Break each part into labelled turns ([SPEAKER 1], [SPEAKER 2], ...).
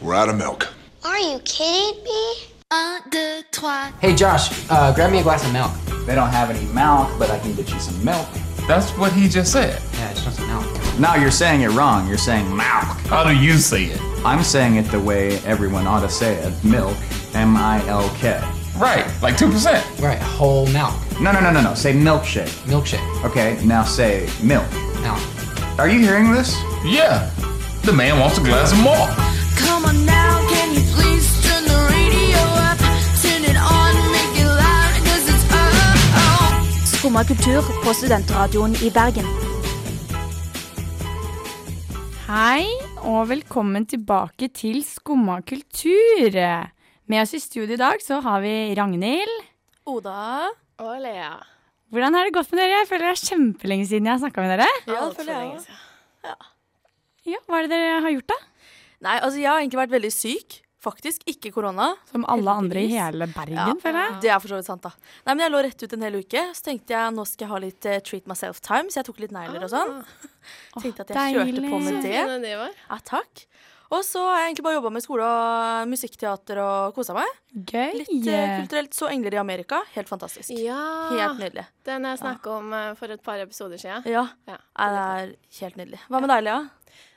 [SPEAKER 1] We're out of milk.
[SPEAKER 2] Are you kidding me?
[SPEAKER 3] Un, deux, trois.
[SPEAKER 4] Hey Josh, uh, grab me a glass of milk.
[SPEAKER 5] They don't have any milk, but I can get you some milk.
[SPEAKER 6] That's what he just said.
[SPEAKER 4] Yeah, I just want some milk.
[SPEAKER 5] No, you're saying it wrong. You're saying milk.
[SPEAKER 6] How do you say it?
[SPEAKER 5] I'm saying it the way everyone ought to say it. Milk. M-I-L-K.
[SPEAKER 6] Right, like 2%.
[SPEAKER 4] Right, whole milk.
[SPEAKER 5] No, no, no, no, no. Say milkshake.
[SPEAKER 4] Milkshake.
[SPEAKER 5] Okay, now say milk.
[SPEAKER 4] Milk.
[SPEAKER 5] Are you hearing this?
[SPEAKER 6] Yeah. The man wants a glass of milk.
[SPEAKER 3] Come on now, can you please turn the radio up? Turn it on, make it loud, cause it's up. Oh.
[SPEAKER 7] Skumma kultur på studentradioen i Bergen.
[SPEAKER 8] Hei, og velkommen tilbake til Skumma kultur. Med oss i studio i dag så har vi Ragnhild.
[SPEAKER 9] Oda. Og Lea.
[SPEAKER 8] Hvordan har det gått med dere? Jeg føler det er kjempelenge siden jeg har snakka med dere.
[SPEAKER 9] Ja, det føler jeg også.
[SPEAKER 8] Ja, Hva er det dere har gjort, da?
[SPEAKER 9] Nei, altså jeg har egentlig vært veldig syk. Faktisk. Ikke korona.
[SPEAKER 8] Som alle andre i hele Bergen,
[SPEAKER 9] Ja.
[SPEAKER 8] føler jeg.
[SPEAKER 9] Det er for så vidt sant, da. Nei, men Jeg lå rett ut en hel uke, så tenkte jeg nå skal jeg ha litt eh, treat myself time. Så jeg tok litt negler og sånn. Tenkte at jeg kjørte
[SPEAKER 8] deilig.
[SPEAKER 9] på med det. Sånn det var.
[SPEAKER 10] var.
[SPEAKER 9] Ja, takk. Og så har jeg egentlig bare jobba med skole og musikkteater og kosa meg.
[SPEAKER 8] Gøy.
[SPEAKER 9] Litt eh, kulturelt. Så Engler i Amerika. Helt fantastisk.
[SPEAKER 10] Ja.
[SPEAKER 9] Helt nydelig.
[SPEAKER 10] Den jeg snakka om eh, for et par episoder siden.
[SPEAKER 9] Ja.
[SPEAKER 10] Ja.
[SPEAKER 9] Nei, det er helt nydelig. Hva med deg, Lea?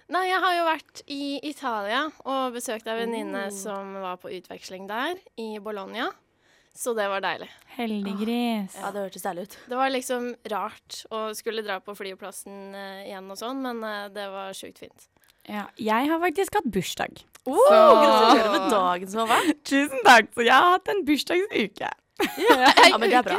[SPEAKER 10] Nei, jeg har jo vært i Italia og besøkt ei venninne
[SPEAKER 9] Oh.
[SPEAKER 10] som var på utveksling der, i Bologna. Så det var deilig.
[SPEAKER 8] Heldiggris.
[SPEAKER 9] Ja, det hørtes deilig ut.
[SPEAKER 10] Det var liksom rart å skulle dra på flyplassen eh, igjen og sånn, men eh, det var sjukt fint.
[SPEAKER 8] Ja, jeg har faktisk hatt bursdag.
[SPEAKER 9] Oh, gratulerer med dagen som har vært.
[SPEAKER 8] Tusen takk. Så jeg har hatt en bursdagsuke.
[SPEAKER 9] Ja, men det er bra.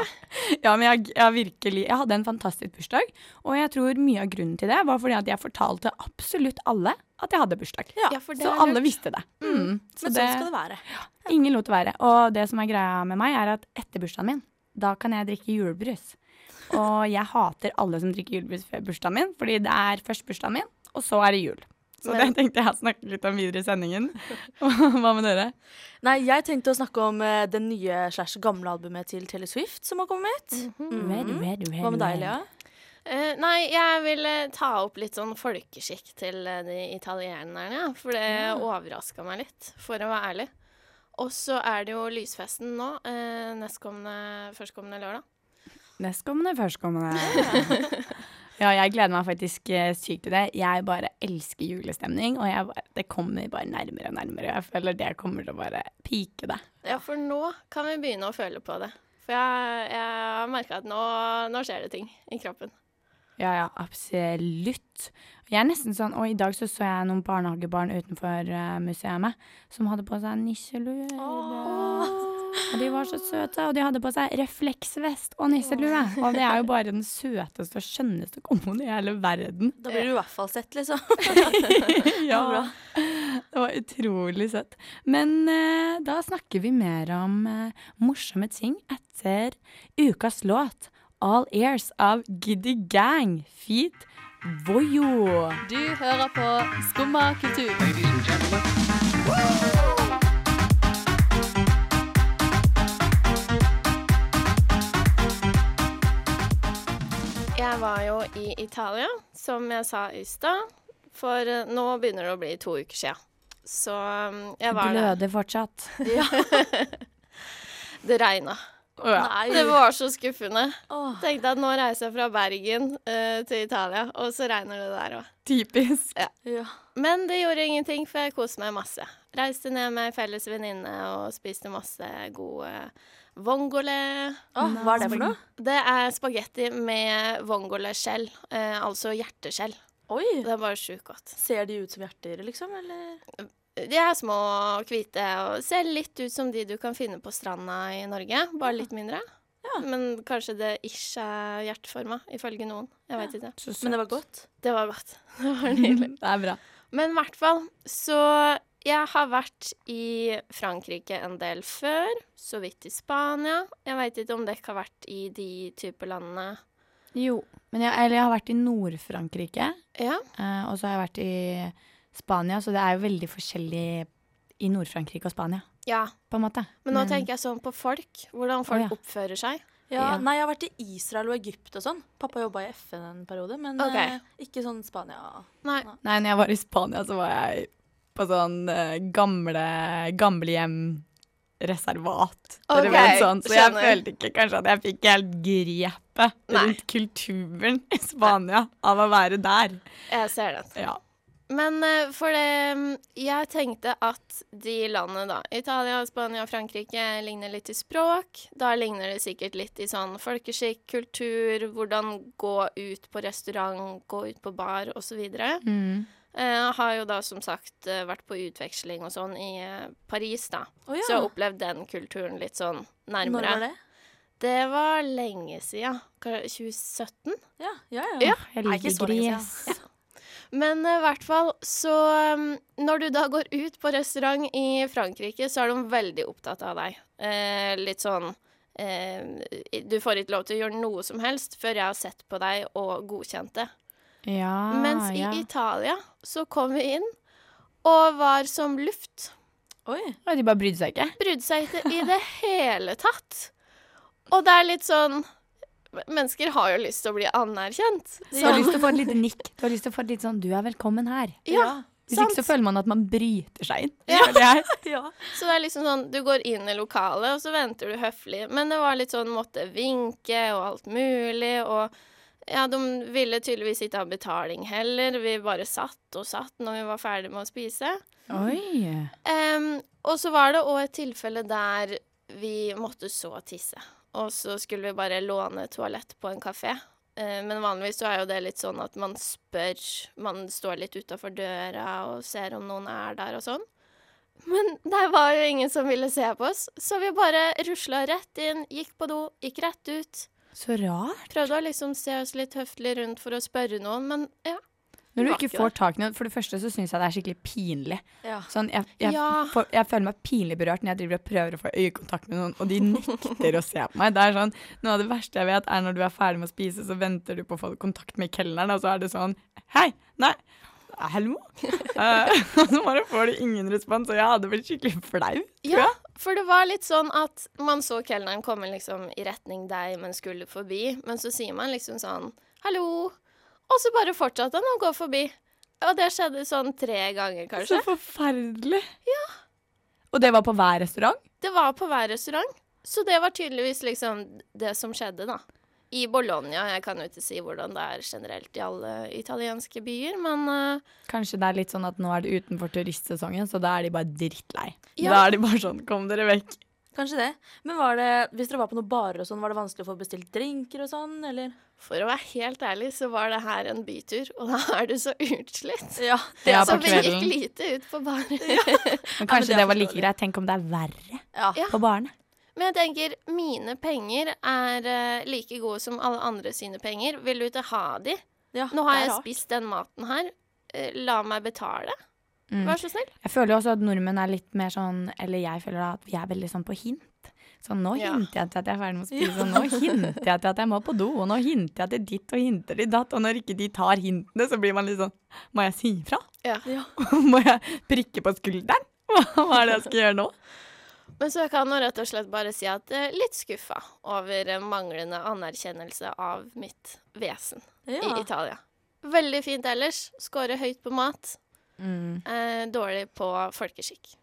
[SPEAKER 8] Ja, men jeg, jeg, har virkelig, jeg hadde en fantastisk bursdag, og jeg tror mye av grunnen til det var fordi at jeg fortalte absolutt alle at jeg hadde bursdag.
[SPEAKER 9] Ja,
[SPEAKER 10] Ja, for det
[SPEAKER 8] Så
[SPEAKER 10] er
[SPEAKER 8] alle
[SPEAKER 10] lurt.
[SPEAKER 8] visste det. Mm. Så
[SPEAKER 9] Men
[SPEAKER 8] det,
[SPEAKER 9] sånn skal det være.
[SPEAKER 8] ingen lot det være. Og det som er greia med meg, er at etter bursdagen min, da kan jeg drikke julebrus. Og jeg hater alle som drikker julebrus før bursdagen min, fordi det er først bursdagen min, og så er det jul. Så det
[SPEAKER 10] Men-
[SPEAKER 8] tenkte jeg å snakke litt om videre i sendingen. Hva med dere?
[SPEAKER 9] Nei, jeg tenkte å snakke om eh, det nye slash gamle albumet til Taylor Swift som har kommet. Mhm. Hva med deg, Lea?
[SPEAKER 10] Eh, nei, jeg vil eh, ta opp litt sånn folkeskikk til eh, de italienerne, ja, for det overraska meg litt, for å være ærlig. Og så er det jo lysfesten nå, eh, nestkommende, førstkommende lørdag.
[SPEAKER 8] Nestkommende, førstkommende. ja, jeg gleder meg faktisk eh, sykt til det. Jeg bare elsker julestemning, og jeg bare, det kommer bare nærmere og nærmere. Jeg føler det kommer til å bare pike det.
[SPEAKER 10] Ja, for nå kan vi begynne å føle på det. For jeg, jeg har merka at nå, nå skjer det ting i kroppen.
[SPEAKER 8] Ja, ja, absolutt. Jeg er nesten sånn, og i dag så så jeg noen barnehagebarn utenfor eh, museet som hadde på seg nisselue. Og de var så søte, og de hadde på seg refleksvest og nisselue. Og det er jo bare den søteste og skjønneste komboen i hele verden.
[SPEAKER 9] Da blir du i hvert fall sett, liksom.
[SPEAKER 8] Ja, Det var utrolig søtt. Men eh, da snakker vi mer om eh, morsomme ting etter ukas låt All Ears av Giddy Gang Feet Voyo.
[SPEAKER 9] Du hører på Skumma kultur.
[SPEAKER 10] Jeg var jo i Italia, som jeg sa i stad, for eh, nå begynner det å bli to uker sia. Så mm, jeg var der.
[SPEAKER 8] Gløder fortsatt.
[SPEAKER 10] Det regna.
[SPEAKER 9] Nei.
[SPEAKER 10] Det var så skuffende.
[SPEAKER 9] Åh.
[SPEAKER 10] Tenkte at nå reiser jeg fra Bergen eh, til Italia, og så regner det der òg.
[SPEAKER 8] Typisk.
[SPEAKER 9] Ja.
[SPEAKER 10] Men det gjorde ingenting, for jeg koste meg masse. Reiste ned med ei felles venninne og spiste masse god eh, vongole.
[SPEAKER 9] Åh, hva er det for noe?
[SPEAKER 10] Det er spagetti med vongoleskjell, eh, altså hjerteskjell.
[SPEAKER 9] Oi.
[SPEAKER 10] Det er bare sjukt godt.
[SPEAKER 9] Ser de ut som hjerter, liksom? Eller?
[SPEAKER 10] De er små og hvite og ser litt ut som de du kan finne på stranda i Norge, bare litt mindre. Men kanskje det ikke er hjerteforma, ifølge noen. Jeg veit ikke.
[SPEAKER 8] Så søtt.
[SPEAKER 9] Men det var godt.
[SPEAKER 10] Det var godt. Det var nydelig.
[SPEAKER 8] Det er bra.
[SPEAKER 10] Men i hvert fall, så jeg har vært i Frankrike en del før, så vidt i Spania. Jeg veit ikke om dere har vært i de type landene.
[SPEAKER 8] Jo. Men jeg, eller jeg har vært i Nord-Frankrike,
[SPEAKER 10] Ja.
[SPEAKER 8] eh, og så har jeg vært i Spania, så det er jo veldig forskjellig i Nord-Frankrike og Spania,
[SPEAKER 10] ja.
[SPEAKER 8] på en måte.
[SPEAKER 10] Men nå tenker jeg sånn på folk, hvordan folk
[SPEAKER 8] Å, ja.
[SPEAKER 10] oppfører seg.
[SPEAKER 9] Ja,
[SPEAKER 8] Ja.
[SPEAKER 9] Nei, jeg har vært i Israel og Egypt og sånn. Pappa jobba i FN en periode, men
[SPEAKER 10] Ok.
[SPEAKER 9] eh, ikke sånn Spania.
[SPEAKER 10] Nei.
[SPEAKER 8] Nei, når jeg var i Spania, så var jeg på sånn eh, gamle gamlehjemreservat. Dere
[SPEAKER 10] Ok,
[SPEAKER 8] vet sånn. Så jeg
[SPEAKER 10] skjønner.
[SPEAKER 8] følte ikke kanskje at jeg fikk helt grepet
[SPEAKER 10] Nei.
[SPEAKER 8] rundt kulturen i Spania av å være der.
[SPEAKER 10] Jeg ser den.
[SPEAKER 8] Ja.
[SPEAKER 10] Men eh, for det mm, Jeg tenkte at de landene, da Italia, Spania, Frankrike ligner litt i språk. Da ligner det sikkert litt i sånn folkeskikk, kultur, hvordan gå ut på restaurant, gå ut på bar osv.
[SPEAKER 8] Mm.
[SPEAKER 10] Eh, har jo da som sagt eh, vært på utveksling og sånn i eh, Paris, da.
[SPEAKER 9] Å ja.
[SPEAKER 10] Så jeg har opplevd den kulturen litt sånn
[SPEAKER 9] Når
[SPEAKER 10] nærmere.
[SPEAKER 9] var det?
[SPEAKER 10] Det var lenge siden. Hva- 2017?
[SPEAKER 9] Ja, ja, ja.
[SPEAKER 10] Ja.
[SPEAKER 9] Nei, ikke så
[SPEAKER 8] Helge
[SPEAKER 9] lenge siden.
[SPEAKER 8] gris.
[SPEAKER 10] Men eh, i hvert fall så um, Når du da går ut på restaurant i Frankrike, så er de veldig opptatt av deg. Eh, litt sånn eh, Du får ikke lov til å gjøre noe som helst før jeg har sett på deg og godkjent det.
[SPEAKER 8] Ja,
[SPEAKER 10] Mens i
[SPEAKER 8] Ah, ja.
[SPEAKER 10] Italia så kom vi inn og var som luft.
[SPEAKER 9] Oi.
[SPEAKER 8] Oi, De bare brydde seg ikke.
[SPEAKER 10] Brydde seg ikke i det hele tatt. Og det er litt sånn Mennesker har jo lyst til å bli anerkjent.
[SPEAKER 8] Du har lyst til å få et lite nikk. Du har lyst til å få et litt sånn 'du er velkommen her'.
[SPEAKER 10] Ja,
[SPEAKER 8] Hvis
[SPEAKER 10] sant.
[SPEAKER 8] ikke så føler man at man bryter seg inn.
[SPEAKER 10] Ja.
[SPEAKER 8] føler jeg.
[SPEAKER 9] Ja.
[SPEAKER 10] Så det er liksom sånn, du går inn i lokalet, og så venter du høflig. Men det var litt sånn, måtte vinke og alt mulig, og ja, de ville tydeligvis ikke ha betaling heller. Vi bare satt og satt når vi var ferdig med å spise.
[SPEAKER 8] Oi.
[SPEAKER 10] Em, og så var det òg et tilfelle der vi måtte så tisse. Og så skulle vi bare låne toalett på en kafé. Eh, Men vanligvis så er jo det litt sånn at man spør Man står litt utafor døra og ser om noen er der og sånn. Men der var jo ingen som ville se på oss, så vi bare rusla rett inn, gikk på do, gikk rett ut.
[SPEAKER 8] Så rart.
[SPEAKER 10] Prøvde å liksom se oss litt høflig rundt for å spørre noen, men ja.
[SPEAKER 8] Når du
[SPEAKER 9] var
[SPEAKER 8] ikke
[SPEAKER 9] ikke
[SPEAKER 8] får tak i noen For det første så syns jeg det er skikkelig pinlig.
[SPEAKER 9] Ja.
[SPEAKER 8] Sånn, jeg, jeg,
[SPEAKER 10] Ja.
[SPEAKER 8] får, jeg føler meg pinlig berørt når jeg driver og prøver å få øyekontakt med noen, og de nekter å se på meg. Det er sånn, Noe av det verste jeg vet, er når du er ferdig med å spise, så venter du på å få kontakt med kelneren, og så er det sånn Hei! Nei! Hallo? Eh, Og så bare får du ingen respons, og jeg hadde blitt skikkelig flau.
[SPEAKER 10] Ja, for det var litt sånn at man så kelneren komme liksom i retning deg, men skulle forbi. Men så sier man liksom sånn 'hallo', og så bare fortsatte han å gå forbi. Og det skjedde sånn tre ganger, kanskje.
[SPEAKER 8] Så forferdelig. Og det var på hver restaurant?
[SPEAKER 10] Det var på hver restaurant. Så det var tydeligvis liksom det som skjedde, da. I Bologna. Jeg kan jo ikke si hvordan det er generelt i alle italienske byer, men eh,
[SPEAKER 8] Kanskje det er litt sånn at nå er det utenfor turistsesongen, så da er de bare drittlei.
[SPEAKER 10] Ja.
[SPEAKER 8] Da er de bare sånn Kom dere vekk.
[SPEAKER 9] Kanskje det. Men var det, hvis dere var på noen barer og sånn, var det vanskelig å få bestilt drinker og sånn, eller?
[SPEAKER 10] for å være helt ærlig, så var det her en bytur, og da er du så utslitt.
[SPEAKER 9] Ja.
[SPEAKER 8] Det er
[SPEAKER 10] så
[SPEAKER 8] på
[SPEAKER 10] vi gikk
[SPEAKER 8] kvelden.
[SPEAKER 10] lite ut på baren.
[SPEAKER 9] men
[SPEAKER 8] Men
[SPEAKER 9] det
[SPEAKER 8] kanskje
[SPEAKER 9] er
[SPEAKER 8] det var like
[SPEAKER 9] forståelig.
[SPEAKER 8] greit. Tenk om det er verre
[SPEAKER 9] Ja.
[SPEAKER 8] på barene.
[SPEAKER 10] Men jeg tenker, mine penger er eh, like gode som alle andre sine penger. Vil du ikke ha de?
[SPEAKER 9] Ja,
[SPEAKER 10] Nå
[SPEAKER 9] det
[SPEAKER 10] har
[SPEAKER 9] er
[SPEAKER 10] jeg
[SPEAKER 9] rart.
[SPEAKER 10] spist den maten her. Eh, La meg betale.
[SPEAKER 8] Mm.
[SPEAKER 10] Vær så snill.
[SPEAKER 8] Jeg føler jo også at nordmenn er litt mer sånn Eller jeg føler da at vi er veldig sånn på hint. Sånn, nå
[SPEAKER 10] Ja.
[SPEAKER 8] hinter jeg til at jeg er ferdig med å spise, og nå hinter jeg til at jeg må på do, og nå hinter jeg til ditt og hinter til datt, og når ikke de tar hintene, så blir man litt sånn Må jeg si ifra?
[SPEAKER 10] Ja.
[SPEAKER 8] Må jeg prikke på skulderen? Hva hva er det jeg skal gjøre nå?
[SPEAKER 10] Men så kan jeg rett og slett bare si at jeg er litt skuffa over eh, manglende anerkjennelse av mitt vesen i
[SPEAKER 9] Ja.
[SPEAKER 10] Italia. Veldig fint ellers. Skårer høyt på mat. Eh, dårlig på folkeskikk.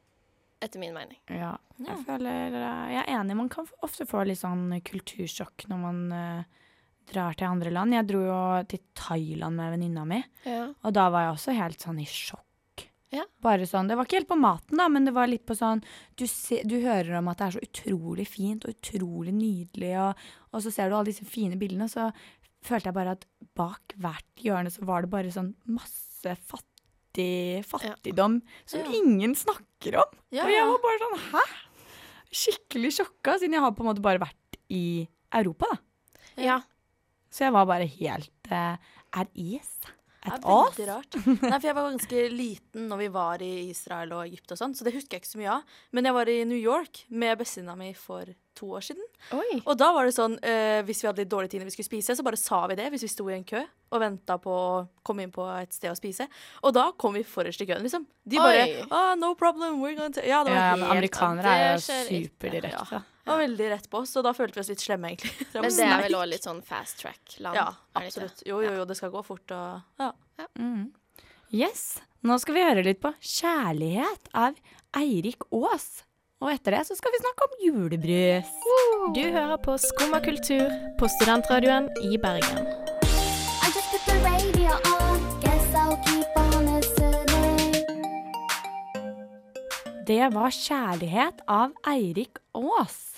[SPEAKER 10] Etter min mening.
[SPEAKER 8] Ja. Jeg føler eh, Jeg er enig, man kan f- ofte få litt sånn kultursjokk når man eh, drar til andre land. Jeg dro jo til Thailand med venninna mi,
[SPEAKER 10] Ja.
[SPEAKER 8] og da var jeg også helt sånn i sjokk.
[SPEAKER 10] Ja.
[SPEAKER 8] Bare sånn, Det var ikke helt på maten, da, men det var litt på sånn Du, se, du hører om at det er så utrolig fint og utrolig nydelig, og, og så ser du alle disse fine bildene, så følte jeg bare at bak hvert hjørne så var det bare sånn masse fattig fattigdom som
[SPEAKER 9] Ja.
[SPEAKER 8] ingen snakker om.
[SPEAKER 9] Ja,
[SPEAKER 8] Og
[SPEAKER 9] ja.
[SPEAKER 8] jeg var bare sånn hæ? Skikkelig sjokka, siden jeg har på en måte bare vært i Europa, da.
[SPEAKER 10] ja.
[SPEAKER 8] Så jeg var bare helt eh, at ease.
[SPEAKER 9] Det
[SPEAKER 8] At
[SPEAKER 9] er
[SPEAKER 8] oss.
[SPEAKER 9] veldig rart. Nei, for jeg var ganske liten når vi var i Israel og Egypt og sånn, så det husker jeg ikke så mye av. Men jeg var i New York med bestevenninna mi for to år siden.
[SPEAKER 10] Oi.
[SPEAKER 9] Og da var det sånn, eh, hvis vi hadde litt dårlig tid når vi skulle spise, så bare sa vi det hvis vi sto i en kø og venta på å komme inn på et sted å spise. Og da kom vi forrest i køen, liksom. De bare
[SPEAKER 10] Oi.
[SPEAKER 9] ah, no problem, we're going to Ja, det var
[SPEAKER 8] Ja, men
[SPEAKER 9] helt
[SPEAKER 8] amerikanere
[SPEAKER 10] det
[SPEAKER 8] er jo
[SPEAKER 10] skjer ikke.
[SPEAKER 8] superdirekte.
[SPEAKER 9] Det var veldig rett på oss, og da følte vi oss litt slemme, egentlig. var
[SPEAKER 10] Men det er
[SPEAKER 9] snerk.
[SPEAKER 10] vel òg litt sånn fast track-land?
[SPEAKER 9] Ja,
[SPEAKER 10] er det ikke det?
[SPEAKER 9] absolutt. Jo, jo, jo, det skal gå fort og Ja.
[SPEAKER 8] Mm. Yes. Nå skal vi høre litt på 'Kjærlighet' av Eirik Aas. Og etter det så skal vi snakke om julebrus.
[SPEAKER 1] Du hører på Skumma kultur på Studentradioen i Bergen.
[SPEAKER 2] I just put the radio on. Guess I'll keep on listening.
[SPEAKER 8] Det var 'Kjærlighet' av Eirik Aas.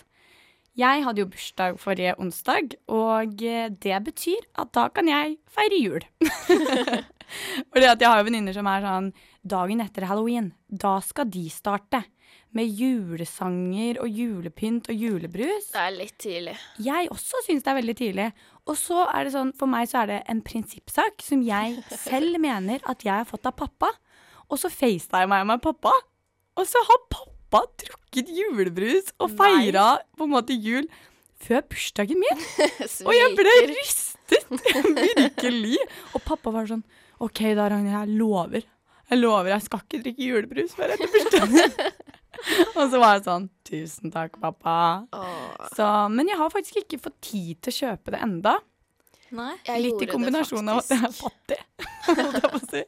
[SPEAKER 8] Jeg hadde jo bursdag forrige onsdag, og eh, det betyr at da kan jeg feire jul. Fordi at jeg har jo venninner som er sånn Dagen etter halloween, da skal de starte. Med julesanger og julepynt og julebrus.
[SPEAKER 10] Det er litt tidlig.
[SPEAKER 8] Jeg også syns det er veldig tidlig. Og så er det sånn, For meg så er det en prinsippsak som jeg selv mener at jeg har fått av pappa. Og så facetimer jeg med pappa, og så har pappa drukket julebrus og feira på en måte jul før bursdagen min. Og jeg ble
[SPEAKER 10] Sviker.
[SPEAKER 8] rystet! Virkelig. Og pappa var sånn OK da, Ragnhild, jeg lover. Jeg lover, jeg skal ikke drikke julebrus før etter bursdagen. og så var jeg sånn Tusen takk, pappa.
[SPEAKER 10] Åh,
[SPEAKER 8] Så, men jeg har faktisk ikke fått tid til å kjøpe det enda.
[SPEAKER 9] Nei.
[SPEAKER 10] jeg
[SPEAKER 8] Litt i
[SPEAKER 10] gjorde det
[SPEAKER 8] kombinasjon av at jeg er
[SPEAKER 10] faktisk.
[SPEAKER 8] fattig. holdt jeg på å si.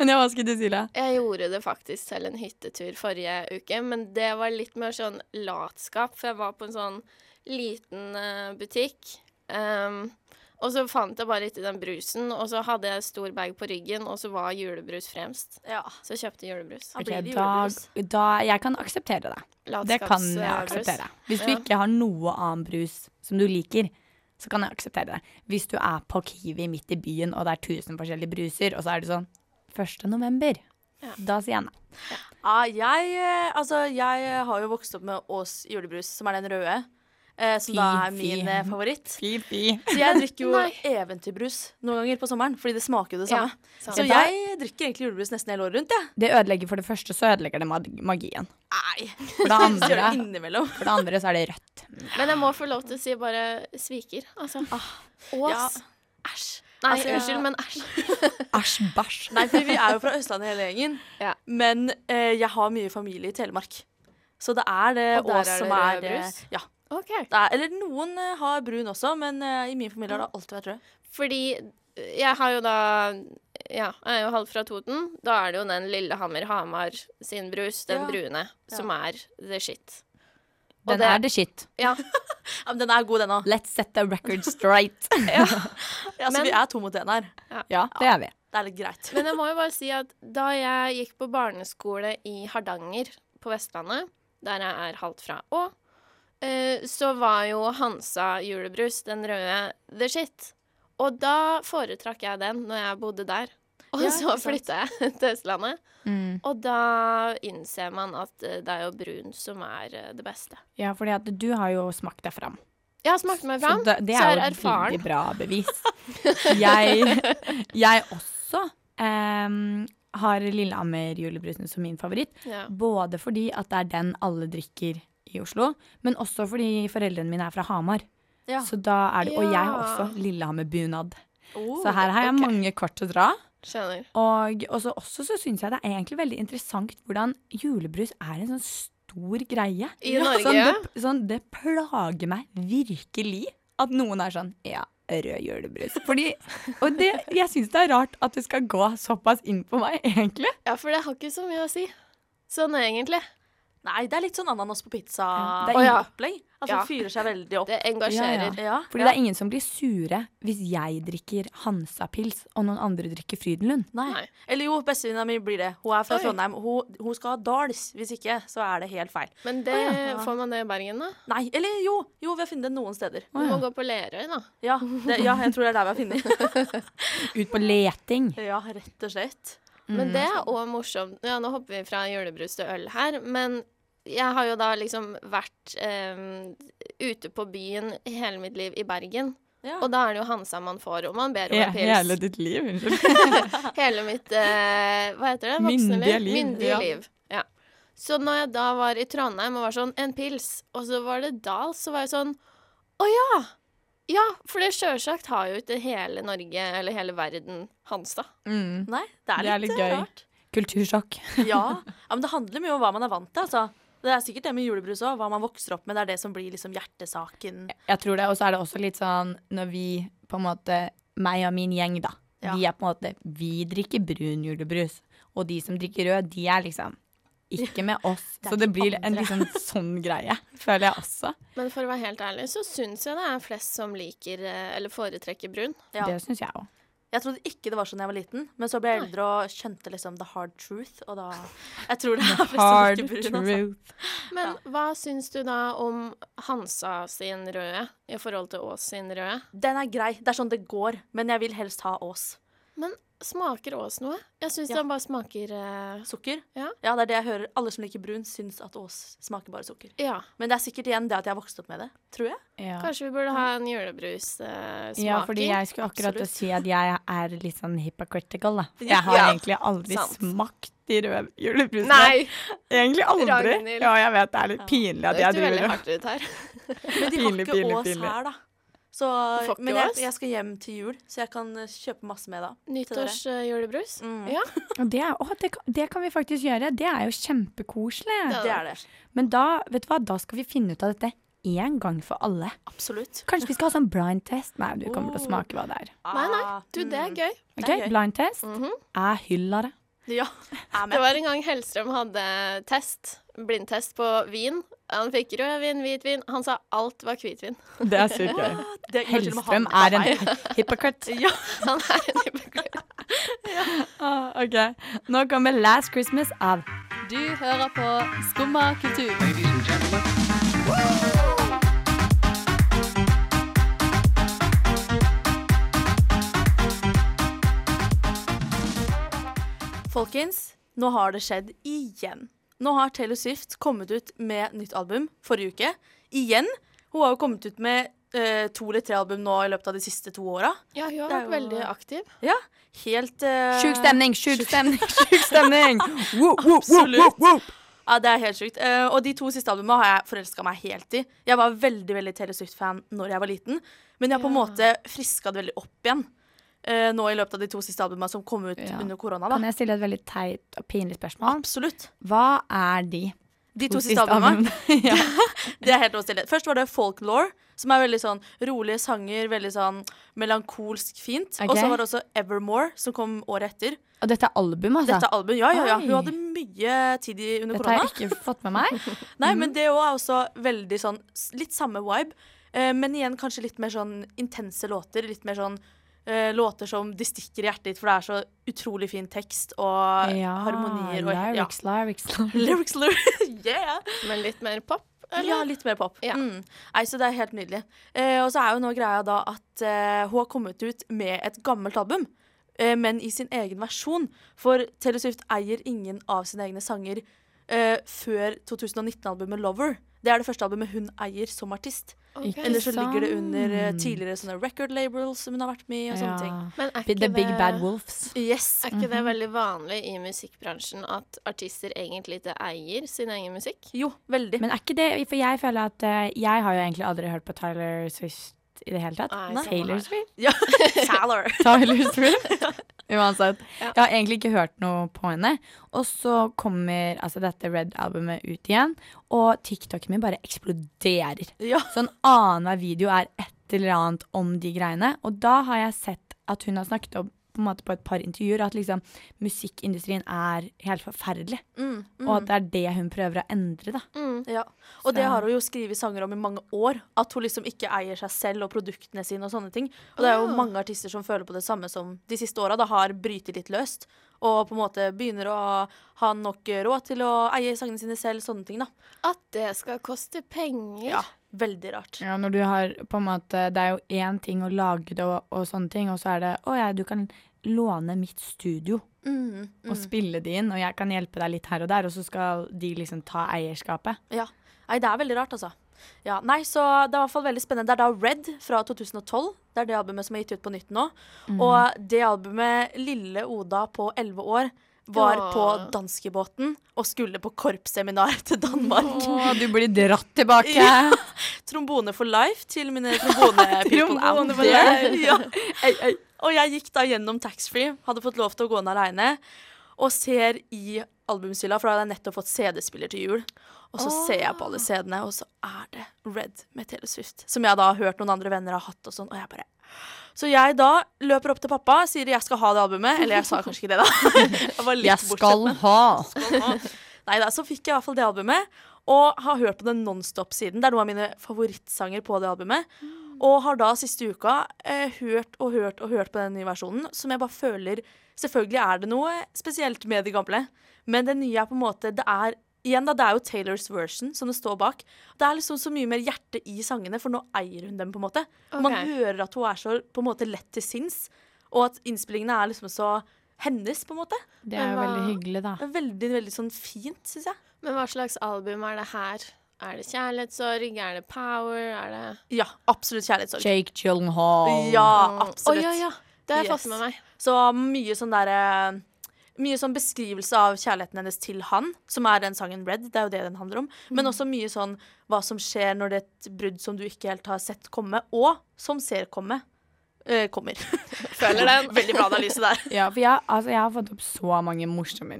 [SPEAKER 8] Men jeg var skulle si det.
[SPEAKER 10] Jeg gjorde det faktisk til en hyttetur forrige uke, men det var litt mer sånn latskap, for jeg var på en sånn liten eh, butikk. ehm, og så fant jeg bare ikke den brusen, og så hadde jeg stor bag på ryggen, og så var julebrus fremst.
[SPEAKER 9] Ja.
[SPEAKER 10] Så jeg kjøpte julebrus.
[SPEAKER 9] Da
[SPEAKER 8] Ok,
[SPEAKER 9] blir det
[SPEAKER 8] da,
[SPEAKER 9] julebrus.
[SPEAKER 8] da, jeg kan akseptere det. Det kan jeg akseptere. Hvis du
[SPEAKER 10] Ja.
[SPEAKER 8] ikke har noe annen brus som du liker, så kan jeg akseptere det. Hvis du er på Kiwi midt i byen, og det er 1000 forskjellige bruser, og så er det sånn 1. november. Da sier jeg nei.
[SPEAKER 9] Ja, jeg, eh, altså, jeg har jo vokst opp med Ås julebrus, som er den røde. Eh, som
[SPEAKER 8] Fy,
[SPEAKER 9] da er
[SPEAKER 8] fy.
[SPEAKER 9] min eh, favoritt.
[SPEAKER 8] Fy, fy.
[SPEAKER 9] Så jeg drikker jo
[SPEAKER 10] Nei.
[SPEAKER 9] eventyrbrus noen ganger på sommeren, fordi det smaker jo det
[SPEAKER 10] Ja,
[SPEAKER 9] samme.
[SPEAKER 10] sant.
[SPEAKER 9] så jeg drikker egentlig julebrus nesten hele året rundt, jeg.
[SPEAKER 8] Det ødelegger for det første, så ødelegger det mag- magien.
[SPEAKER 9] Nei.
[SPEAKER 8] For det
[SPEAKER 9] Så gjør
[SPEAKER 8] andre,
[SPEAKER 9] det innimellom.
[SPEAKER 8] for det andre så er det rødt.
[SPEAKER 10] Men jeg må få lov til å si bare sviker, altså.
[SPEAKER 9] Ja.
[SPEAKER 10] Ås. Æsj. Nei,
[SPEAKER 9] Altså, jeg-
[SPEAKER 10] unnskyld, men æsj.
[SPEAKER 8] Æsj, bæsj.
[SPEAKER 9] Nei, for vi er jo fra Østlandet hele gjengen.
[SPEAKER 10] Ja.
[SPEAKER 9] Men eh, jeg har mye familie i Telemark. Så det er det
[SPEAKER 10] Og der er
[SPEAKER 9] Ås
[SPEAKER 10] det
[SPEAKER 9] som
[SPEAKER 10] rød
[SPEAKER 9] er eh,
[SPEAKER 10] brus?
[SPEAKER 9] Ja.
[SPEAKER 10] OK.
[SPEAKER 9] Det er, eller noen eh, har brun også, men eh, i min familie har det alltid vært rød.
[SPEAKER 10] Fordi eh, jeg har jo da Ja, jeg er jo halvt fra Toten. Da er det jo den Lillehammer-Hamar sin brus, den
[SPEAKER 9] Ja.
[SPEAKER 10] brune, som er the shit. Og
[SPEAKER 8] Den
[SPEAKER 10] det-
[SPEAKER 8] er the shit.
[SPEAKER 10] Ja,
[SPEAKER 9] Ja, men den er god, den òg.
[SPEAKER 8] Let's set the record straight.
[SPEAKER 9] Ja, så
[SPEAKER 10] Men-
[SPEAKER 9] vi er to mot én her.
[SPEAKER 8] ja, det er vi.
[SPEAKER 9] Det er litt greit.
[SPEAKER 10] Men jeg må jo bare si at da jeg gikk på barneskole i Hardanger på Vestlandet, der jeg er halvt fra og eh, så var jo Hansa julebrus, den røde, the shit. Og da foretrakk jeg den når jeg bodde der. Og
[SPEAKER 9] Ja,
[SPEAKER 10] så
[SPEAKER 9] ikke sant.
[SPEAKER 10] flytta jeg til Østlandet.
[SPEAKER 8] Mm.
[SPEAKER 10] Og da innser man at eh, det er jo brun som er eh, det beste.
[SPEAKER 8] Ja, fordi at du har jo smakt deg fram.
[SPEAKER 10] Jeg har smakt meg fram,
[SPEAKER 8] Så det, det er jo
[SPEAKER 10] jeg
[SPEAKER 8] et
[SPEAKER 10] erfaren.
[SPEAKER 8] veldig bra bevis. Jeg, jeg også em, har Lillehammer-julebrusen som min favoritt.
[SPEAKER 10] Ja.
[SPEAKER 8] Både fordi at det er den alle drikker i Oslo, men også fordi foreldrene mine er fra Hamar.
[SPEAKER 9] Ja.
[SPEAKER 8] Så da er det, Og jeg
[SPEAKER 10] Ja.
[SPEAKER 8] har også Lillehammer-bunad.
[SPEAKER 9] Oh,
[SPEAKER 8] Så her har jeg mange kort å dra.
[SPEAKER 10] Skjønner.
[SPEAKER 8] Og og så også så syns jeg det er egentlig veldig interessant hvordan julebrus er en sånn stor greie.
[SPEAKER 10] I Norge,
[SPEAKER 8] sånn,
[SPEAKER 10] ja.
[SPEAKER 8] det, sånn, det plager meg virkelig at noen er sånn Ja, rød julebrus. Fordi, og det, jeg syns det er rart at det skal gå såpass inn på meg, egentlig.
[SPEAKER 10] Ja, for det har ikke så mye å si. Sånn egentlig.
[SPEAKER 9] Nei, det er litt sånn ananas på
[SPEAKER 8] Det er ingen-
[SPEAKER 9] pizza-opplegg. Altså,
[SPEAKER 10] Ja.
[SPEAKER 9] det fyrer seg veldig opp.
[SPEAKER 10] Det engasjerer.
[SPEAKER 9] Ja.
[SPEAKER 8] Fordi det er ingen som blir sure hvis jeg drikker Hansa-pils og noen andre drikker Frydenlund.
[SPEAKER 9] Nei.
[SPEAKER 10] Nei.
[SPEAKER 9] Eller jo, bestevenninna mi blir det. Hun er fra
[SPEAKER 10] Oi.
[SPEAKER 9] Trondheim. Hun, hun skal ha Dals. Hvis ikke, så er det helt feil.
[SPEAKER 10] Men det får man det i Bergen, da.
[SPEAKER 9] Nei, eller jo, jo, vi har funnet det noen steder.
[SPEAKER 10] Du må gå på Lerøy, da.
[SPEAKER 9] Ja, det, ja, jeg tror det er der vi har funnet det.
[SPEAKER 8] Ut på leting.
[SPEAKER 9] Ja, rett og slett.
[SPEAKER 10] Men Mm, det er òg morsomt. Ja, nå hopper vi fra julebrus til øl her, men jeg har jo da liksom vært eh, ute på byen hele mitt liv i Bergen.
[SPEAKER 9] Ja.
[SPEAKER 10] Og da er det jo Hansa man får, og man ber om en pils.
[SPEAKER 8] hele
[SPEAKER 10] Hele,
[SPEAKER 8] ditt liv, unnskyld.
[SPEAKER 10] mitt eh, Hva heter det? Voksne
[SPEAKER 8] Myndige
[SPEAKER 10] liv.
[SPEAKER 8] liv,
[SPEAKER 10] Myndige
[SPEAKER 8] ja.
[SPEAKER 10] liv. Ja. Så når jeg da var i Trondheim og var sånn En pils. Og så var det Dals, så var jeg sånn Å ja! Ja, for det sjølsagt har jo ikke hele Norge, eller hele verden, Hansa.
[SPEAKER 8] Mm.
[SPEAKER 9] Nei, det er
[SPEAKER 8] Det er
[SPEAKER 9] litt,
[SPEAKER 8] litt
[SPEAKER 9] eh,
[SPEAKER 8] gøy.
[SPEAKER 9] rart.
[SPEAKER 8] Kultursjokk.
[SPEAKER 9] Ja. ja, men det handler mye om hva man er vant til, altså. Det er sikkert det med julebrus òg, hva man vokser opp med. Det er det som blir liksom hjertesaken.
[SPEAKER 8] Jeg tror det, og så er det også litt sånn når vi på en måte, meg og min gjeng da,
[SPEAKER 9] Ja.
[SPEAKER 8] Vi er på en måte Vi drikker brun julebrus. Og de som drikker rød, de er liksom ikke med oss.
[SPEAKER 9] er
[SPEAKER 8] Så det
[SPEAKER 9] de
[SPEAKER 8] blir en
[SPEAKER 9] andre.
[SPEAKER 8] liksom sånn greie, føler jeg også.
[SPEAKER 10] Men for å være helt ærlig, så syns jeg det er flest som liker eh, eller foretrekker brun.
[SPEAKER 9] Ja.
[SPEAKER 8] Det syns jeg òg.
[SPEAKER 9] Jeg trodde ikke det var sånn da jeg var liten, men så ble jeg eldre og skjønte liksom the hard truth. Og da Jeg tror det er best å
[SPEAKER 8] Hard
[SPEAKER 9] drikke brun. Altså.
[SPEAKER 8] truth.
[SPEAKER 10] Men hva syns du da om Hansa sin røde i forhold til Ås sin røde?
[SPEAKER 9] Den er grei. Det er sånn det går. Men jeg vil helst ha Ås.
[SPEAKER 10] Men smaker Ås noe? Jeg syns
[SPEAKER 9] Ja.
[SPEAKER 10] den bare smaker eh,
[SPEAKER 9] Sukker?
[SPEAKER 10] Ja.
[SPEAKER 9] det er det jeg hører. Alle som liker brun, syns at Ås smaker bare sukker.
[SPEAKER 10] eh, Ja,
[SPEAKER 9] Men det er sikkert igjen det at jeg har vokst opp med det. Tror jeg.
[SPEAKER 8] Ja.
[SPEAKER 10] kanskje vi burde ha en eh, julebrussmaking.
[SPEAKER 8] Ja, fordi jeg skulle akkurat til å si at jeg er litt sånn hypocritical, da. Jeg har
[SPEAKER 10] Ja.
[SPEAKER 8] egentlig aldri
[SPEAKER 10] Sant.
[SPEAKER 8] smakt de røde julebrusene.
[SPEAKER 10] Nei!
[SPEAKER 8] Egentlig aldri.
[SPEAKER 10] Ragnhild.
[SPEAKER 8] Ja, jeg vet det er litt pinlig at
[SPEAKER 10] Det
[SPEAKER 8] jeg
[SPEAKER 10] hørtes veldig
[SPEAKER 8] driver og
[SPEAKER 10] hardt ut her.
[SPEAKER 9] Men de
[SPEAKER 8] Pinlig,
[SPEAKER 9] har ikke
[SPEAKER 8] pinlig,
[SPEAKER 9] Ås
[SPEAKER 8] pinlig.
[SPEAKER 9] her, da. Så,
[SPEAKER 10] Du får ikke
[SPEAKER 9] men jeg,
[SPEAKER 10] Ås?
[SPEAKER 9] jeg skal hjem til jul, så jeg kan eh, kjøpe masse med da. til dere.
[SPEAKER 10] Nyttårsjulebrus.
[SPEAKER 9] Mm.
[SPEAKER 10] Ja,
[SPEAKER 8] Og det, er, å, det, kan, det kan vi faktisk gjøre. Det er jo kjempekoselig.
[SPEAKER 10] Ja.
[SPEAKER 9] Det er det.
[SPEAKER 8] Men da, vet du hva, da skal vi finne ut av dette én gang for alle.
[SPEAKER 9] Absolutt.
[SPEAKER 8] Kanskje vi skal ha sånn blind test? Nei, du kommer til å
[SPEAKER 9] Oh.
[SPEAKER 8] smake hva det er.
[SPEAKER 10] Nei, nei, du, det er gøy.
[SPEAKER 8] Ok,
[SPEAKER 9] Det er gøy.
[SPEAKER 8] Blind test
[SPEAKER 9] Mhm.
[SPEAKER 8] er hylla det.
[SPEAKER 9] Ja. Jeg er
[SPEAKER 10] Det
[SPEAKER 9] med.
[SPEAKER 10] var en gang Hellstrøm hadde test, blindtest på vin. Han fikk rødvin, hvitvin. Han sa alt var hvitvin.
[SPEAKER 8] Det er sykt gøy.
[SPEAKER 9] Ah, Det går til og med
[SPEAKER 8] Hellstrøm
[SPEAKER 9] han-
[SPEAKER 8] er en hypocrite.
[SPEAKER 9] Ja.
[SPEAKER 10] Han er en hypokrit.
[SPEAKER 8] Ah, ok, Nå kommer Last Christmas av
[SPEAKER 11] Du hører på Skumma kultur.
[SPEAKER 9] Folkens, nå har det skjedd igjen. Nå har Taylor Swift kommet ut med nytt album forrige uke. Igjen. Hun har jo kommet ut med eh, to eller tre album nå i løpet av de siste to åra.
[SPEAKER 10] Ja, hun har
[SPEAKER 9] Det er
[SPEAKER 10] vært
[SPEAKER 9] jo-
[SPEAKER 10] veldig aktiv.
[SPEAKER 9] Ja, helt eh,
[SPEAKER 8] Sjuk stemning, sjuk stemning, sjuk stemning! Woop, woop, woop, woop, woop.
[SPEAKER 9] Ja, det er helt sjukt. Eh, og de to siste albumene har jeg forelska meg helt i. Jeg var veldig veldig Taylor Swift-fan når jeg var liten, men jeg har på en måte friska det veldig opp igjen eh, nå i løpet av de to siste albumene som kom ut
[SPEAKER 8] Ja.
[SPEAKER 9] under korona.
[SPEAKER 8] Kan
[SPEAKER 9] da.
[SPEAKER 8] jeg stille et veldig teit og pinlig spørsmål?
[SPEAKER 9] Absolutt.
[SPEAKER 8] Hva er de?
[SPEAKER 9] De to siste albumene.
[SPEAKER 8] ja.
[SPEAKER 9] Det er helt lov å stille. Først var det folklore, som er veldig sånn rolige sanger, veldig sånn melankolsk fint.
[SPEAKER 8] Ok.
[SPEAKER 9] Og så var det også Evermore, som kom året etter.
[SPEAKER 8] Og dette er album, altså?
[SPEAKER 9] Dette er album, ja, ja, ja. Hun
[SPEAKER 8] Oi.
[SPEAKER 9] hadde mye tid i- under
[SPEAKER 8] Dette har
[SPEAKER 9] korona.
[SPEAKER 8] jeg ikke fått med meg.
[SPEAKER 9] Nei, men det også er også veldig sånn s- litt samme vibe, eh, men igjen kanskje litt mer sånn intense låter. Litt mer sånn eh, låter som de stikker i hjertet ditt, for det er så utrolig fin tekst og harmonier. Og,
[SPEAKER 8] lyrics, lyrics,
[SPEAKER 9] Ja.
[SPEAKER 8] lyrics.
[SPEAKER 9] Lyrics, lyrics. yeah!
[SPEAKER 10] Men litt mer pop,
[SPEAKER 9] Ja,
[SPEAKER 10] eller?
[SPEAKER 9] litt mer pop.
[SPEAKER 10] Ja.
[SPEAKER 9] Mm. Nei, så det er helt nydelig. Eh, og så er jo nå greia da at eh, hun har kommet ut med et gammelt album, eh, men i sin egen versjon. For Taylor Swift eier ingen av sine egne sanger eh, før 2019-albumet Lover. Det er det første albumet hun eier som artist.
[SPEAKER 10] Ok.
[SPEAKER 8] Ikke
[SPEAKER 9] Ellers så ligger det under eh,
[SPEAKER 8] sant.
[SPEAKER 9] tidligere sånne record labels som hun har vært med i, og sånne ting.
[SPEAKER 10] Men er
[SPEAKER 8] Be-
[SPEAKER 10] ikke
[SPEAKER 8] The Big
[SPEAKER 10] det-
[SPEAKER 8] Bad Mhm. Wolves.
[SPEAKER 9] Yes.
[SPEAKER 10] Er ikke det veldig vanlig i musikkbransjen at artister egentlig ikke eier sin egen musikk?
[SPEAKER 9] Jo, veldig.
[SPEAKER 8] Men er ikke det For jeg føler at eh, jeg har jo egentlig aldri hørt på Tyler Swift i det hele tatt.
[SPEAKER 10] Nei,
[SPEAKER 8] Taylor
[SPEAKER 10] sånn er det.
[SPEAKER 8] Swift?
[SPEAKER 9] Ja. Taylor.
[SPEAKER 8] Tyler Swift. Uansett.
[SPEAKER 10] Ja.
[SPEAKER 8] Jeg har egentlig ikke hørt noe på henne. Og så kommer altså dette Red-albumet ut igjen, og TikToken min bare eksploderer.
[SPEAKER 9] Ja.
[SPEAKER 8] Sånn annenhver video er et eller annet om de greiene. Og da har jeg sett at hun har snakket om på, en måte på et par intervjuer at liksom, musikkindustrien er helt forferdelig.
[SPEAKER 9] Mm,
[SPEAKER 8] Og at det er det hun prøver å endre, da.
[SPEAKER 9] Ja, og det
[SPEAKER 8] Så-
[SPEAKER 9] har hun jo skrevet sanger om i mange år. At hun liksom ikke eier seg selv og produktene sine og sånne ting. Og det er jo mange artister som føler på det samme som de siste åra, da har brytet litt løst. Og på en måte begynner å ha nok råd til å eie sangene sine selv, sånne ting, da.
[SPEAKER 10] At det skal koste penger?
[SPEAKER 9] Ja, veldig rart.
[SPEAKER 8] Ja, når du har på en måte Det er jo én ting å lage det og, og sånne ting, og så er det å ja, du kan låne mitt studio
[SPEAKER 9] Mm,
[SPEAKER 8] og spille det inn, og jeg kan hjelpe deg litt her og der, og så skal de liksom ta eierskapet.
[SPEAKER 9] ja. Nei, det er veldig rart, altså. Ja, nei, så Det er i hvert fall veldig spennende. Det er da Red fra 2012. Det er det albumet som er gitt ut på nytt nå. Og det albumet Lille Oda på 11 år var
[SPEAKER 10] Åh.
[SPEAKER 9] på danskebåten og skulle på korpsseminar til Danmark.
[SPEAKER 8] Å, du blir dratt tilbake!
[SPEAKER 9] Ja. trombone for life til mine trombone-people out
[SPEAKER 8] Trombone for
[SPEAKER 9] there. Ja. Og jeg gikk da gjennom taxfree, hadde fått lov til å gå ned aleine, og ser i albumsylla, for da hadde jeg nettopp fått CD-spiller til jul. Og så ser jeg på alle CD-ene, og så er det Red med Taylor Swift. Som jeg da har hørt noen andre venner har hatt og sånn, og jeg bare Så jeg da løper opp til pappa, sier jeg skal ha det albumet. Eller jeg sa kanskje ikke det, da. Jeg, var litt
[SPEAKER 11] Jeg skal
[SPEAKER 9] bortskjemt.
[SPEAKER 11] ha.
[SPEAKER 9] Nei da, så fikk jeg i hvert fall det albumet, og har hørt på det nonstop siden. Det er noen av mine favorittsanger på det albumet. Og har da siste uka eh, hørt og hørt og hørt på den nye versjonen, som jeg bare føler Selvfølgelig er det noe spesielt med de gamle, men den nye er på en måte Det er igjen da, det er jo Taylors version som det står bak. Det er liksom så mye mer hjerte i sangene, for nå eier hun dem, på en måte. Og Man
[SPEAKER 10] Ok.
[SPEAKER 9] hører at hun er så på en måte lett til sinns, og at innspillingene er liksom så hennes, på en måte.
[SPEAKER 8] Det er jo veldig hyggelig, da.
[SPEAKER 9] Veldig, veldig sånn fint, syns jeg.
[SPEAKER 10] Men hva slags album er det her? Er det kjærlighetssorg? Er det power? Er det
[SPEAKER 9] Ja, absolutt kjærlighetssorg.
[SPEAKER 11] Jake Gyllenhaal.
[SPEAKER 9] Ja,
[SPEAKER 10] Mm.
[SPEAKER 9] absolutt.
[SPEAKER 10] Å, ja, ja. Det har jeg fått
[SPEAKER 9] Yes.
[SPEAKER 10] med meg.
[SPEAKER 9] Så mye sånn der eh, Mye sånn beskrivelse av kjærligheten hennes til han, som er den sangen Red. Det er jo det den handler om. Men også mye sånn hva som skjer når det er et brudd som du ikke helt har sett komme, og som ser komme. eh, kommer.
[SPEAKER 10] Føler den.
[SPEAKER 9] Veldig bra analyse der.
[SPEAKER 8] Ja, for jeg, altså, jeg har fått opp så mange morsomme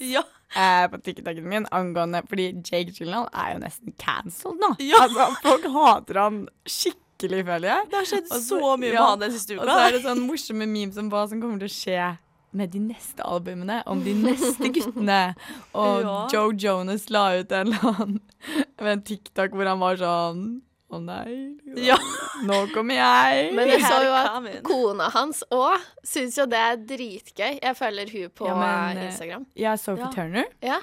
[SPEAKER 9] ja.
[SPEAKER 8] eh, på TikToken min angående Fordi Jake Gyllenhaal er jo nesten cancelled nå.
[SPEAKER 9] Ja.
[SPEAKER 8] Altså, folk hater han skikkelig, føler jeg.
[SPEAKER 9] Det har skjedd
[SPEAKER 8] Og
[SPEAKER 9] så mye med
[SPEAKER 8] ja,
[SPEAKER 9] han den siste
[SPEAKER 8] Og så
[SPEAKER 9] uka.
[SPEAKER 8] er det sånn morsomme memes om hva som kommer til å skje med de neste albumene, om de neste guttene. Og
[SPEAKER 9] Ja.
[SPEAKER 8] Joe Jonas la ut en eller annen med en TikTok hvor han var sånn Å nei, liksom.
[SPEAKER 9] Ja.
[SPEAKER 8] nå kommer jeg.
[SPEAKER 10] Men jeg så jo
[SPEAKER 9] Velkommen.
[SPEAKER 10] at kona hans òg syns jo det er dritgøy. Jeg følger hun på
[SPEAKER 8] Ja, men,
[SPEAKER 10] eh,
[SPEAKER 8] eh,
[SPEAKER 10] Instagram.
[SPEAKER 8] Ja, Sophie
[SPEAKER 9] Ja.
[SPEAKER 8] Turner.
[SPEAKER 10] Ja.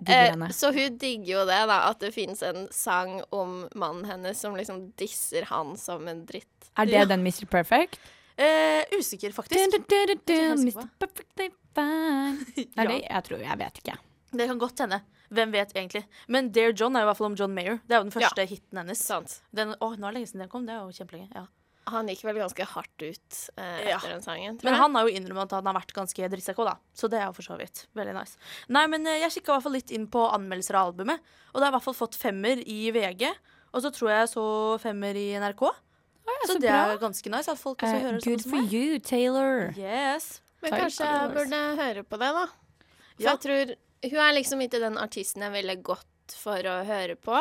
[SPEAKER 8] Digger
[SPEAKER 10] Eh,
[SPEAKER 8] henne.
[SPEAKER 10] så hun digger jo det, da. At det finnes en sang om mannen hennes som liksom disser han som en dritt.
[SPEAKER 8] Er det
[SPEAKER 9] ja.
[SPEAKER 8] den Mr. Perfect?
[SPEAKER 9] Eh, usikker, faktisk.
[SPEAKER 8] Mr. Perfect they find. Er
[SPEAKER 9] Ja.
[SPEAKER 8] det? Jeg tror Jeg vet ikke.
[SPEAKER 9] Det kan godt hende. Hvem vet egentlig. Men Dare John er jo i hvert fall om John Mayer. Det er jo den første hiten hennes.
[SPEAKER 10] Sant.
[SPEAKER 9] Den, åh, nå er det lenge siden den kom. Det er jo kjempelenge. Ja.
[SPEAKER 10] Han gikk vel ganske hardt ut eh,
[SPEAKER 9] Ja.
[SPEAKER 10] etter den sangen. Tror
[SPEAKER 9] Men
[SPEAKER 10] jeg.
[SPEAKER 9] han har jo innrømmet at han har vært ganske drittsekk også, da. Så det er jo for så vidt veldig nice. Nei, men eh, jeg kikka i hvert fall litt inn på anmeldelser av albumet, og det har i hvert fall fått femmer i VG. Og så tror jeg jeg så femmer i NRK. så,
[SPEAKER 8] så
[SPEAKER 9] det
[SPEAKER 8] bra.
[SPEAKER 9] er jo ganske nice at folk også
[SPEAKER 8] Eh,
[SPEAKER 9] hører
[SPEAKER 8] good
[SPEAKER 9] sånn
[SPEAKER 8] for
[SPEAKER 9] som meg.
[SPEAKER 8] you, Taylor.
[SPEAKER 9] Yes.
[SPEAKER 10] Men
[SPEAKER 8] Takk,
[SPEAKER 10] kanskje
[SPEAKER 8] Alex.
[SPEAKER 10] jeg burde høre på det, da. For
[SPEAKER 9] Ja.
[SPEAKER 10] jeg tror Hun er liksom ikke den artisten jeg ville gått for å høre på.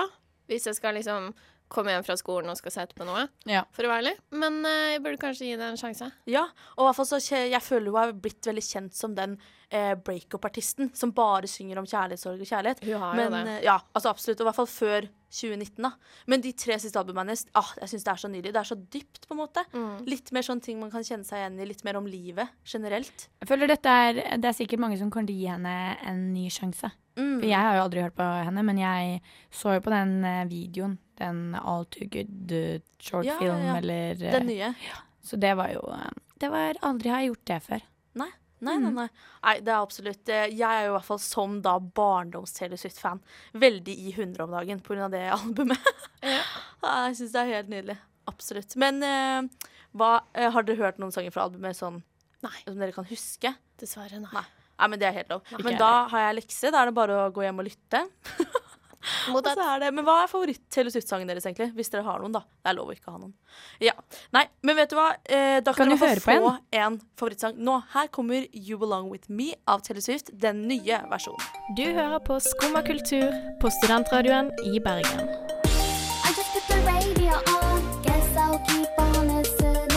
[SPEAKER 10] Hvis jeg skal liksom komme hjem fra skolen og skal sette på noe,
[SPEAKER 8] Ja.
[SPEAKER 10] for å være ærlig. Men eh, jeg burde kanskje gi det en sjanse.
[SPEAKER 9] Ja, og i hvert fall så kje- jeg føler hun har blitt veldig kjent som den eh, breakup-artisten som bare synger om kjærlighetssorg og kjærlighet.
[SPEAKER 10] Hun har jo
[SPEAKER 9] Men,
[SPEAKER 10] det.
[SPEAKER 9] eh, ja, altså absolutt, og i hvert fall før 2019. da. Men de tre siste albumene hennes, ah, jeg syns det er så nydelig. Det er så dypt, på en måte.
[SPEAKER 10] Mm.
[SPEAKER 9] Litt mer sånn ting man kan kjenne seg igjen i. Litt mer om livet generelt.
[SPEAKER 8] Jeg føler dette er, Det er sikkert mange som kommer til å gi henne en ny sjanse.
[SPEAKER 9] Mm.
[SPEAKER 8] For Jeg har jo aldri hørt på henne, men jeg så jo på den eh, videoen. Den All Too Good eh, short
[SPEAKER 9] Ja, ja,
[SPEAKER 8] film,
[SPEAKER 9] ja.
[SPEAKER 8] eller eh,
[SPEAKER 9] Den nye.
[SPEAKER 8] Så det var jo eh, Det var Aldri har jeg gjort det før.
[SPEAKER 9] Nei. Nei, nei, nei. nei, det er absolutt eh, Jeg er jo i hvert fall som da barndoms-Taylor Swift-fan veldig i hundre om dagen pga. det albumet. Ah, Jeg syns det er helt nydelig. Absolutt. Men eh, hva, eh, har dere hørt noen sanger fra albumet sånn
[SPEAKER 10] Nei.
[SPEAKER 9] som dere kan huske?
[SPEAKER 10] Dessverre, nei.
[SPEAKER 9] Nei. Nei, men det er helt lov.
[SPEAKER 8] jeg
[SPEAKER 9] Men da har jeg lekse. Da er det bare å gå hjem og lytte.
[SPEAKER 10] Mot
[SPEAKER 9] Og
[SPEAKER 10] at
[SPEAKER 9] så er det, men hva er favoritt-Taylor Swift-sangen deres, egentlig? Hvis dere har noen, da. Det er lov å ikke ha noen. Ja. Nei, men vet du hva? Eh, da
[SPEAKER 8] Kan
[SPEAKER 9] kan,
[SPEAKER 8] du
[SPEAKER 9] dere
[SPEAKER 8] høre
[SPEAKER 9] få,
[SPEAKER 8] på
[SPEAKER 9] få en favorittsang nå. Her kommer You Belong With Me av Taylor Swift, den nye versjonen.
[SPEAKER 1] Du hører på Skumma kultur på studentradioen i Bergen.
[SPEAKER 2] I just put the radio on. Guess I'll keep on listening.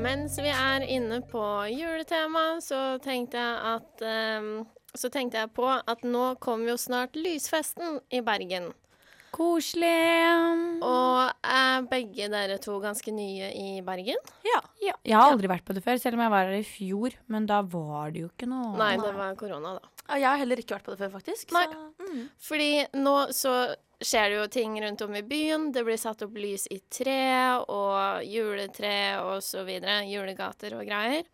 [SPEAKER 10] Mens vi er inne på juletema, så tenkte jeg at ehm, Så tenkte jeg på at nå kommer jo snart lysfesten i Bergen.
[SPEAKER 8] Koselig.
[SPEAKER 10] Og er begge dere to ganske nye i Bergen?
[SPEAKER 9] Ja.
[SPEAKER 8] Ja, jeg har aldri vært på det før, selv om jeg var her i fjor. Men da var det jo ikke noe.
[SPEAKER 10] Nei, det var korona, da.
[SPEAKER 9] Ja, Jeg har heller ikke vært på det før, faktisk.
[SPEAKER 10] Nei.
[SPEAKER 9] Så, mm.
[SPEAKER 10] Fordi nå så skjer det jo ting rundt om i byen. Det blir satt opp lys i tre og juletre og så videre. Julegater og greier.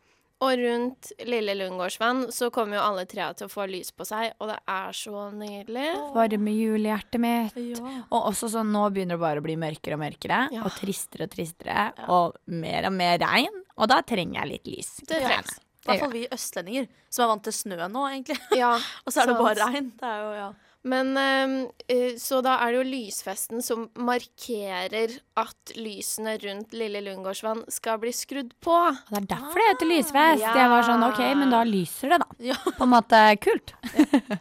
[SPEAKER 10] Og rundt Lille Lundgårdsvann så kommer jo alle trea til å få lys på seg, og det er så nydelig.
[SPEAKER 8] Varme julehjertet mitt.
[SPEAKER 9] Ja.
[SPEAKER 8] Og også sånn, nå begynner det bare å bli mørkere og mørkere,
[SPEAKER 10] Ja.
[SPEAKER 8] og tristere og tristere, og mer og mer regn. Og da trenger jeg litt lys.
[SPEAKER 10] Det
[SPEAKER 8] Ja.
[SPEAKER 10] trengs.
[SPEAKER 9] I hvert fall vi østlendinger, som er vant til snø nå, egentlig.
[SPEAKER 10] Ja,
[SPEAKER 9] Og så er det
[SPEAKER 10] sant.
[SPEAKER 9] bare regn. Det er jo, ja.
[SPEAKER 10] Men ehm, eh, så da er det jo lysfesten som markerer at lysene rundt Lille Lungegårdsvann skal bli skrudd på.
[SPEAKER 8] Det er derfor det heter lysfest.
[SPEAKER 10] Ah, Ja.
[SPEAKER 8] Jeg var sånn OK, men da lyser det, da. På en måte kult.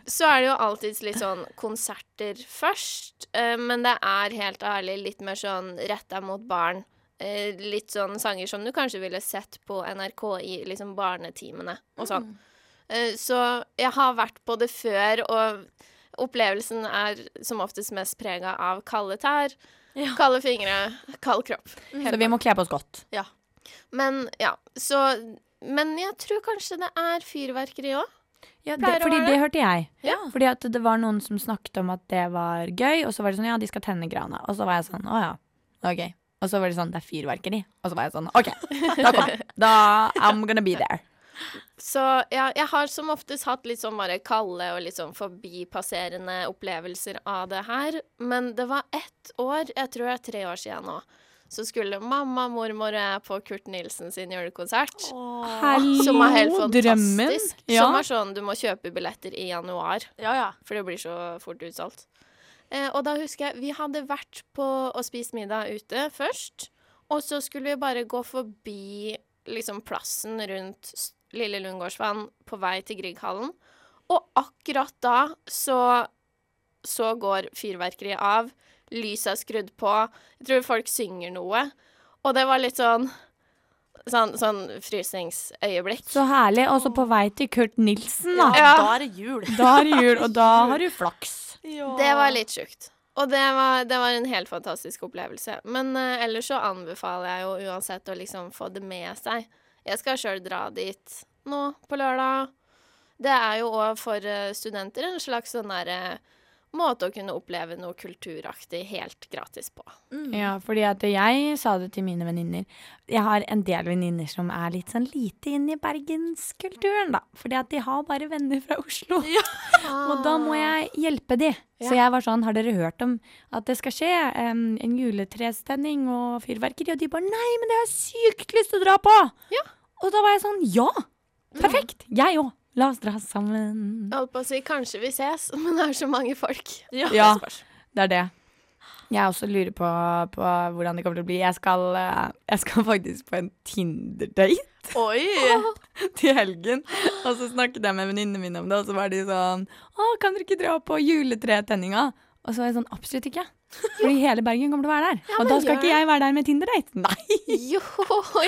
[SPEAKER 10] Så er det jo alltid litt sånn konserter først, eh, men det er helt ærlig litt mer sånn retta mot barn. Eh, litt sånn sanger som du kanskje ville sett på NRK i liksom barnetimene og sånn. Eh, så jeg har vært på det før, og opplevelsen er som oftest mest prega av kalde tær, kalde fingre, kald kropp.
[SPEAKER 8] Så vi må kle på oss godt.
[SPEAKER 10] Men ja, så Men jeg tror kanskje det er fyrverkeri òg.
[SPEAKER 8] Ja, det,
[SPEAKER 10] Pleier å
[SPEAKER 8] fordi
[SPEAKER 10] være
[SPEAKER 8] det
[SPEAKER 10] det.
[SPEAKER 8] hørte jeg.
[SPEAKER 10] Ja.
[SPEAKER 8] Fordi at det var noen som snakket om at det var gøy, og så var det sånn ja, de skal tenne grana. Og så var jeg sånn å ja, ok. Og så var det sånn det er fyrverkeri. Og så var jeg sånn ok, da kom jeg. Da I'm gonna be there.
[SPEAKER 10] Så ja, jeg har som oftest hatt litt sånn bare kalde og litt sånn forbipasserende opplevelser av det her. Men det var ett år, jeg tror det er tre år siden nå, så skulle mamma, mormor og jeg på Kurt Nilsen sin julekonsert. som var helt fantastisk.
[SPEAKER 8] Ja.
[SPEAKER 10] Som er sånn du må kjøpe billetter i januar,
[SPEAKER 9] Ja, ja.
[SPEAKER 10] for det blir så fort utsolgt. Eh, og da husker jeg vi hadde vært på og spist middag ute først. Og så skulle vi bare gå forbi liksom plassen rundt S- Lille Lundgårdsvann på vei til Grieghallen. Og akkurat da så, så går fyrverkeriet av. Lyset er skrudd på. Jeg tror folk synger noe. Og det var litt sånn Sånn, sånn frysningsøyeblikk.
[SPEAKER 8] Så herlig. Og så på vei til Kurt Nilsen, da.
[SPEAKER 10] Ja.
[SPEAKER 9] Da er det jul.
[SPEAKER 8] Da er det jul, og da har du flaks.
[SPEAKER 10] Det var litt sjukt. Og det var, det var en helt fantastisk opplevelse. Men eh, ellers så anbefaler jeg jo uansett å liksom få det med seg. Jeg skal sjøl dra dit nå på lørdag. Det er jo òg for eh, studenter en slags sånn derre måte å kunne oppleve noe kulturaktig helt gratis på.
[SPEAKER 8] Ja, fordi at jeg sa det til mine venninner. Jeg har en del venninner som er litt sånn lite inn i bergenskulturen, da. Fordi at de har bare venner fra Oslo.
[SPEAKER 9] Ah.
[SPEAKER 8] Og da må jeg hjelpe de. Så jeg var sånn, har dere hørt om at det skal skje em, en juletrestenning og fyrverkeri? Og de bare, nei, men det har jeg sykt lyst til å dra på!
[SPEAKER 10] Ja.
[SPEAKER 8] Og da var jeg sånn, ja! Perfekt! Jeg òg! La oss dra sammen.
[SPEAKER 10] Jeg holdt på å si kanskje vi ses, men det er så mange folk.
[SPEAKER 8] Ja, det er det. Jeg også lurer på, på hvordan det kommer til å bli. Jeg skal, eh, jeg skal faktisk på en Tinder-date
[SPEAKER 9] Oi!
[SPEAKER 8] til helgen. Og så snakket jeg med venninnene mine om det, og så var de sånn Å, kan dere ikke dra på juletretenninga? Og så var jeg sånn Absolutt ikke. Fordi hele Bergen kommer til å være der. og da
[SPEAKER 10] men
[SPEAKER 8] skal
[SPEAKER 10] gjør
[SPEAKER 8] ikke jeg være der med Tinder-date. Nei,
[SPEAKER 10] Jo,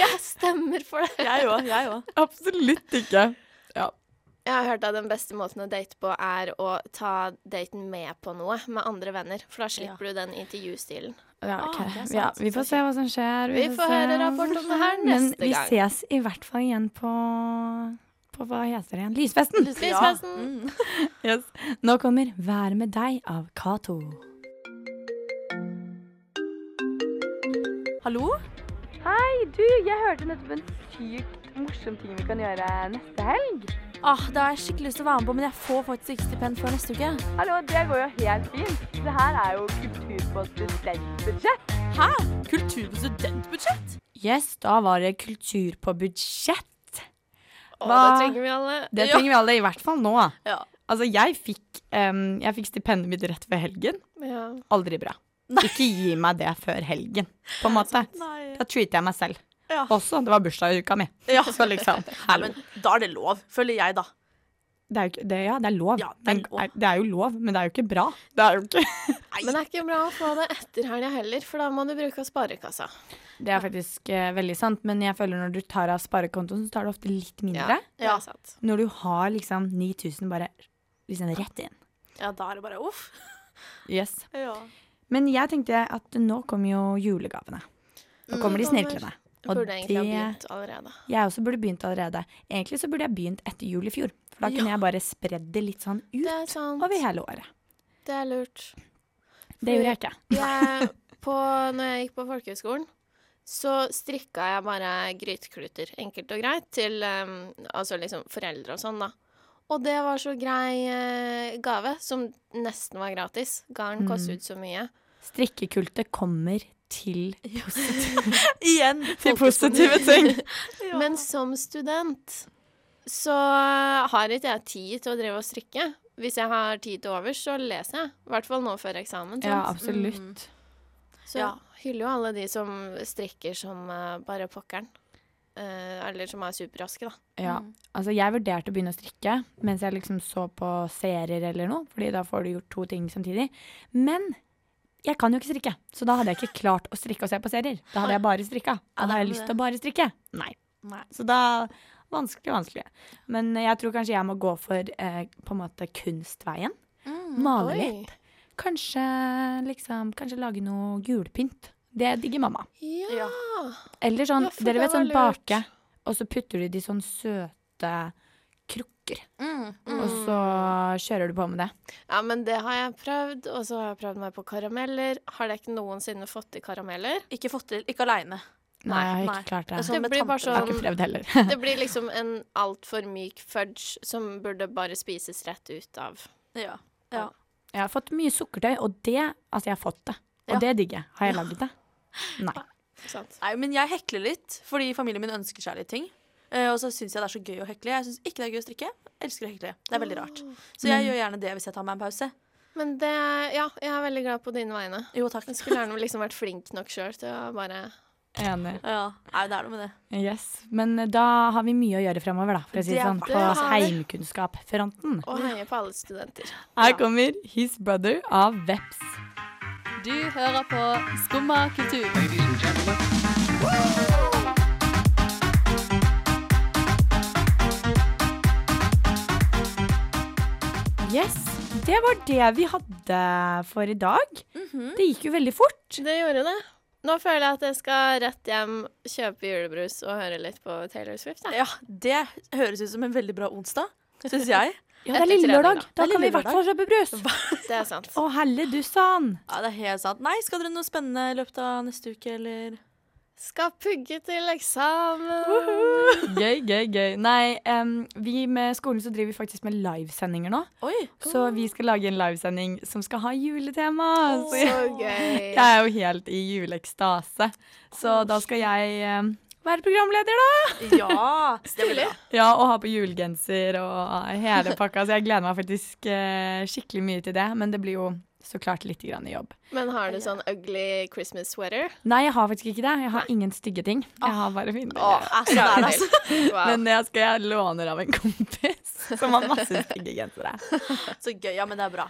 [SPEAKER 10] jeg stemmer for det.
[SPEAKER 9] Jeg òg. Jeg òg.
[SPEAKER 8] absolutt ikke.
[SPEAKER 10] Jeg har hørt at den beste måten å date på er å ta daten med på noe med andre venner. For da slipper du den intervjustilen.
[SPEAKER 8] Ja, ok.
[SPEAKER 9] Ah, det er sant.
[SPEAKER 8] ja, vi får se hva som skjer.
[SPEAKER 10] Vi får
[SPEAKER 8] se hva
[SPEAKER 10] høre
[SPEAKER 8] som
[SPEAKER 10] rapport om det her
[SPEAKER 8] skjer.
[SPEAKER 10] neste
[SPEAKER 8] Men vi
[SPEAKER 10] gang.
[SPEAKER 8] ses i hvert fall igjen på på hva heter det igjen? Lysfesten!
[SPEAKER 10] Lysfesten!
[SPEAKER 8] Mm. Yes. Nå kommer Vær med deg av Cato. Hallo? Hei, du, jeg hørte nettopp en sykt morsom ting vi kan gjøre neste helg.
[SPEAKER 9] Ah, det har jeg skikkelig lyst til å være med på, men jeg får faktisk ikke stipend før neste uke.
[SPEAKER 8] Hallo, det går jo helt fint. Det her er jo kultur på studentbudsjett.
[SPEAKER 9] Hæ? Kultur på studentbudsjett?
[SPEAKER 8] Yes, da var det kultur på budsjett.
[SPEAKER 10] Å, det
[SPEAKER 8] Hva-
[SPEAKER 10] trenger vi alle.
[SPEAKER 8] Det
[SPEAKER 9] Ja.
[SPEAKER 8] trenger vi alle, i hvert fall nå.
[SPEAKER 9] Ja.
[SPEAKER 8] Altså, jeg fikk, em, jeg fikk stipendet mitt rett før helgen.
[SPEAKER 10] Ja.
[SPEAKER 8] Aldri bra. Ikke gi meg det før helgen, på en måte.
[SPEAKER 9] Nei.
[SPEAKER 8] Da treater jeg meg selv.
[SPEAKER 9] Ja.
[SPEAKER 8] Også, det var bursdag i uka mi.
[SPEAKER 9] Ja.
[SPEAKER 8] Så liksom, hallo.
[SPEAKER 9] Men da er det lov, føler jeg, da.
[SPEAKER 8] Det er jo ikke, det, ja, det er lov.
[SPEAKER 9] Ja, det er
[SPEAKER 8] Men
[SPEAKER 9] lov.
[SPEAKER 8] det er jo lov, men det er jo ikke bra. Det er jo ikke
[SPEAKER 10] Men det er ikke bra å få det etter helga heller, for da må du bruke av sparekassa.
[SPEAKER 8] Det er faktisk eh, veldig sant, men jeg føler når du tar av sparekontoen, så tar du ofte litt mindre.
[SPEAKER 10] det
[SPEAKER 9] Ja.
[SPEAKER 10] er sant.
[SPEAKER 8] Når du har liksom 9000 bare liksom rett inn.
[SPEAKER 9] Ja, da er det bare uff.
[SPEAKER 8] Yes.
[SPEAKER 9] Ja.
[SPEAKER 8] Men jeg tenkte at nå kommer jo julegavene. Nå kommer de
[SPEAKER 10] Kommer.
[SPEAKER 8] snirklende.
[SPEAKER 10] Mm, Jeg
[SPEAKER 8] Og
[SPEAKER 10] burde egentlig ha
[SPEAKER 8] det
[SPEAKER 10] begynt allerede.
[SPEAKER 8] Jeg også burde begynt allerede. Egentlig så burde jeg begynt etter jul i fjor. For da kunne jeg bare spredd det litt sånn
[SPEAKER 10] Det
[SPEAKER 8] ut
[SPEAKER 10] er sant.
[SPEAKER 8] over hele året.
[SPEAKER 10] Det er lurt.
[SPEAKER 8] Det gjorde jeg ikke.
[SPEAKER 10] Jeg, på, når jeg gikk på folkehøyskolen, så strikka jeg bare grytekluter, enkelt og greit, til em, altså liksom foreldre og sånn, da. Og det var så grei eh, gave, som nesten var gratis. Garn kostet ut så mye.
[SPEAKER 8] Strikkekultet kommer til
[SPEAKER 9] Igjen.
[SPEAKER 8] Til positive ting.
[SPEAKER 10] Men som student så har ikke jeg tid til å drive og strikke. Hvis jeg har tid til overs, så leser jeg. I hvert fall nå før eksamen.
[SPEAKER 8] Ja,
[SPEAKER 10] sant?
[SPEAKER 8] absolutt.
[SPEAKER 10] Mm. Så
[SPEAKER 9] Ja.
[SPEAKER 10] hyller jo alle de som strikker som eh, bare pokkeren. Eh, eller som er superraske, da.
[SPEAKER 8] Ja. Altså, jeg vurderte å begynne å strikke mens jeg liksom så på serier eller noe, fordi da får du gjort to ting samtidig. Men jeg kan jo ikke strikke, så da hadde jeg ikke klart å strikke og se på serier. Da hadde jeg bare strikka. Da har jeg lyst til å bare strikke. Nei.
[SPEAKER 9] Nei.
[SPEAKER 8] Så da Vanskelig, vanskelig. Men jeg tror kanskje jeg må gå for eh, på en måte kunstveien. Male
[SPEAKER 10] Oi.
[SPEAKER 8] litt. Kanskje liksom Kanskje lage noe julepynt. Det digger mamma.
[SPEAKER 10] Ja.
[SPEAKER 8] Eller sånn,
[SPEAKER 10] Ja, for
[SPEAKER 8] dere
[SPEAKER 10] det
[SPEAKER 8] vet sånn
[SPEAKER 10] var lurt.
[SPEAKER 8] bake, og så putter du det i sånn søte krukker.
[SPEAKER 10] Mm,
[SPEAKER 8] Og så kjører du på med det.
[SPEAKER 10] ja, men det har jeg prøvd. Og så har jeg prøvd meg på karameller. Har dere ikke noensinne fått til karameller?
[SPEAKER 9] Ikke fått til. Ikke aleine.
[SPEAKER 8] Nei, jeg har
[SPEAKER 9] nei.
[SPEAKER 8] ikke klart det.
[SPEAKER 9] Det er sånn
[SPEAKER 10] Det
[SPEAKER 9] med
[SPEAKER 10] blir bare
[SPEAKER 9] tante.
[SPEAKER 8] Jeg har ikke
[SPEAKER 10] sånn
[SPEAKER 8] prøvd heller.
[SPEAKER 10] Det blir liksom en altfor myk fudge som burde bare spises rett ut av.
[SPEAKER 9] Ja. ja.
[SPEAKER 8] Jeg har fått mye sukkertøy, og det Altså, jeg har fått det. Og
[SPEAKER 9] Ja.
[SPEAKER 8] det digger jeg. Har jeg lagd det?
[SPEAKER 10] Ah.
[SPEAKER 8] Nei.
[SPEAKER 10] Sant?
[SPEAKER 9] Nei, men jeg hekler litt, fordi familien min ønsker seg litt ting. Eh, og så syns jeg det er så gøy å hekle. Jeg syns ikke det er gøy å strikke. Jeg elsker å hekle. Det er veldig rart. Så
[SPEAKER 8] Mm.
[SPEAKER 9] jeg gjør gjerne det hvis jeg tar meg en pause.
[SPEAKER 10] Men det Ja, jeg er veldig glad på dine vegne.
[SPEAKER 9] Jo, takk.
[SPEAKER 10] Jeg skulle gjerne liksom vært flink nok sjøl til å bare
[SPEAKER 8] Enig.
[SPEAKER 9] Ja, Nei, det er noe med det.
[SPEAKER 8] Yes. Men eh, da har vi mye å gjøre fremover, da, for å si
[SPEAKER 9] Det
[SPEAKER 8] det
[SPEAKER 9] er
[SPEAKER 8] sånn.
[SPEAKER 9] bra.
[SPEAKER 8] På
[SPEAKER 10] Det har vi.
[SPEAKER 8] heimkunnskapfronten.
[SPEAKER 10] Å heie på alle studenter.
[SPEAKER 8] Her kommer His Brother av Veps.
[SPEAKER 11] Du hører på Skumma kultur.
[SPEAKER 8] Yes. Det var det vi hadde for i dag.
[SPEAKER 10] Mhm.
[SPEAKER 8] Det gikk jo veldig fort.
[SPEAKER 10] Det gjorde det. Nå føler jeg at jeg skal rett hjem, kjøpe julebrus og høre litt på Taylor Swift. Jeg.
[SPEAKER 9] Ja, Det høres ut som en veldig bra onsdag, syns jeg.
[SPEAKER 8] Ja,
[SPEAKER 10] Etter
[SPEAKER 8] det er lille
[SPEAKER 10] trening,
[SPEAKER 8] lørdag.
[SPEAKER 10] da.
[SPEAKER 9] Det
[SPEAKER 8] Da
[SPEAKER 9] er
[SPEAKER 8] kan vi i
[SPEAKER 9] lille
[SPEAKER 8] hvert fall kjøpe brus.
[SPEAKER 10] Det er sant.
[SPEAKER 8] Å, helle du sann.
[SPEAKER 9] Ja, Det er helt sant. Nei, skal dere noe spennende i løpet av neste uke, eller?
[SPEAKER 10] Skal pugge til eksamen.
[SPEAKER 8] Gøy, gøy, gøy. Nei, em, vi med skolen så driver vi faktisk med livesendinger nå.
[SPEAKER 9] Oi!
[SPEAKER 8] Så vi skal lage en livesending som skal ha juletema. Så
[SPEAKER 10] Så
[SPEAKER 8] jeg,
[SPEAKER 10] gøy.
[SPEAKER 8] jeg er jo helt i juleekstase. Så da skal jeg em, være programleder, da.
[SPEAKER 9] Ja! Det blir bra.
[SPEAKER 8] Ja, og ha på julegenser og hele pakka. Så jeg gleder meg faktisk eh, skikkelig mye til det. Men det blir jo så klart litt grann jobb.
[SPEAKER 10] Men har du sånn ugly Christmas sweater?
[SPEAKER 8] Nei, jeg har faktisk ikke det. Jeg har ingen stygge ting. Jeg har bare fine
[SPEAKER 10] Åh,
[SPEAKER 8] bilder.
[SPEAKER 9] Altså, det er altså.
[SPEAKER 10] Wow.
[SPEAKER 8] Men eh, jeg skal jeg låner av en kompis som har masse stygge gensere.
[SPEAKER 9] Så gøy. Ja, men det er bra.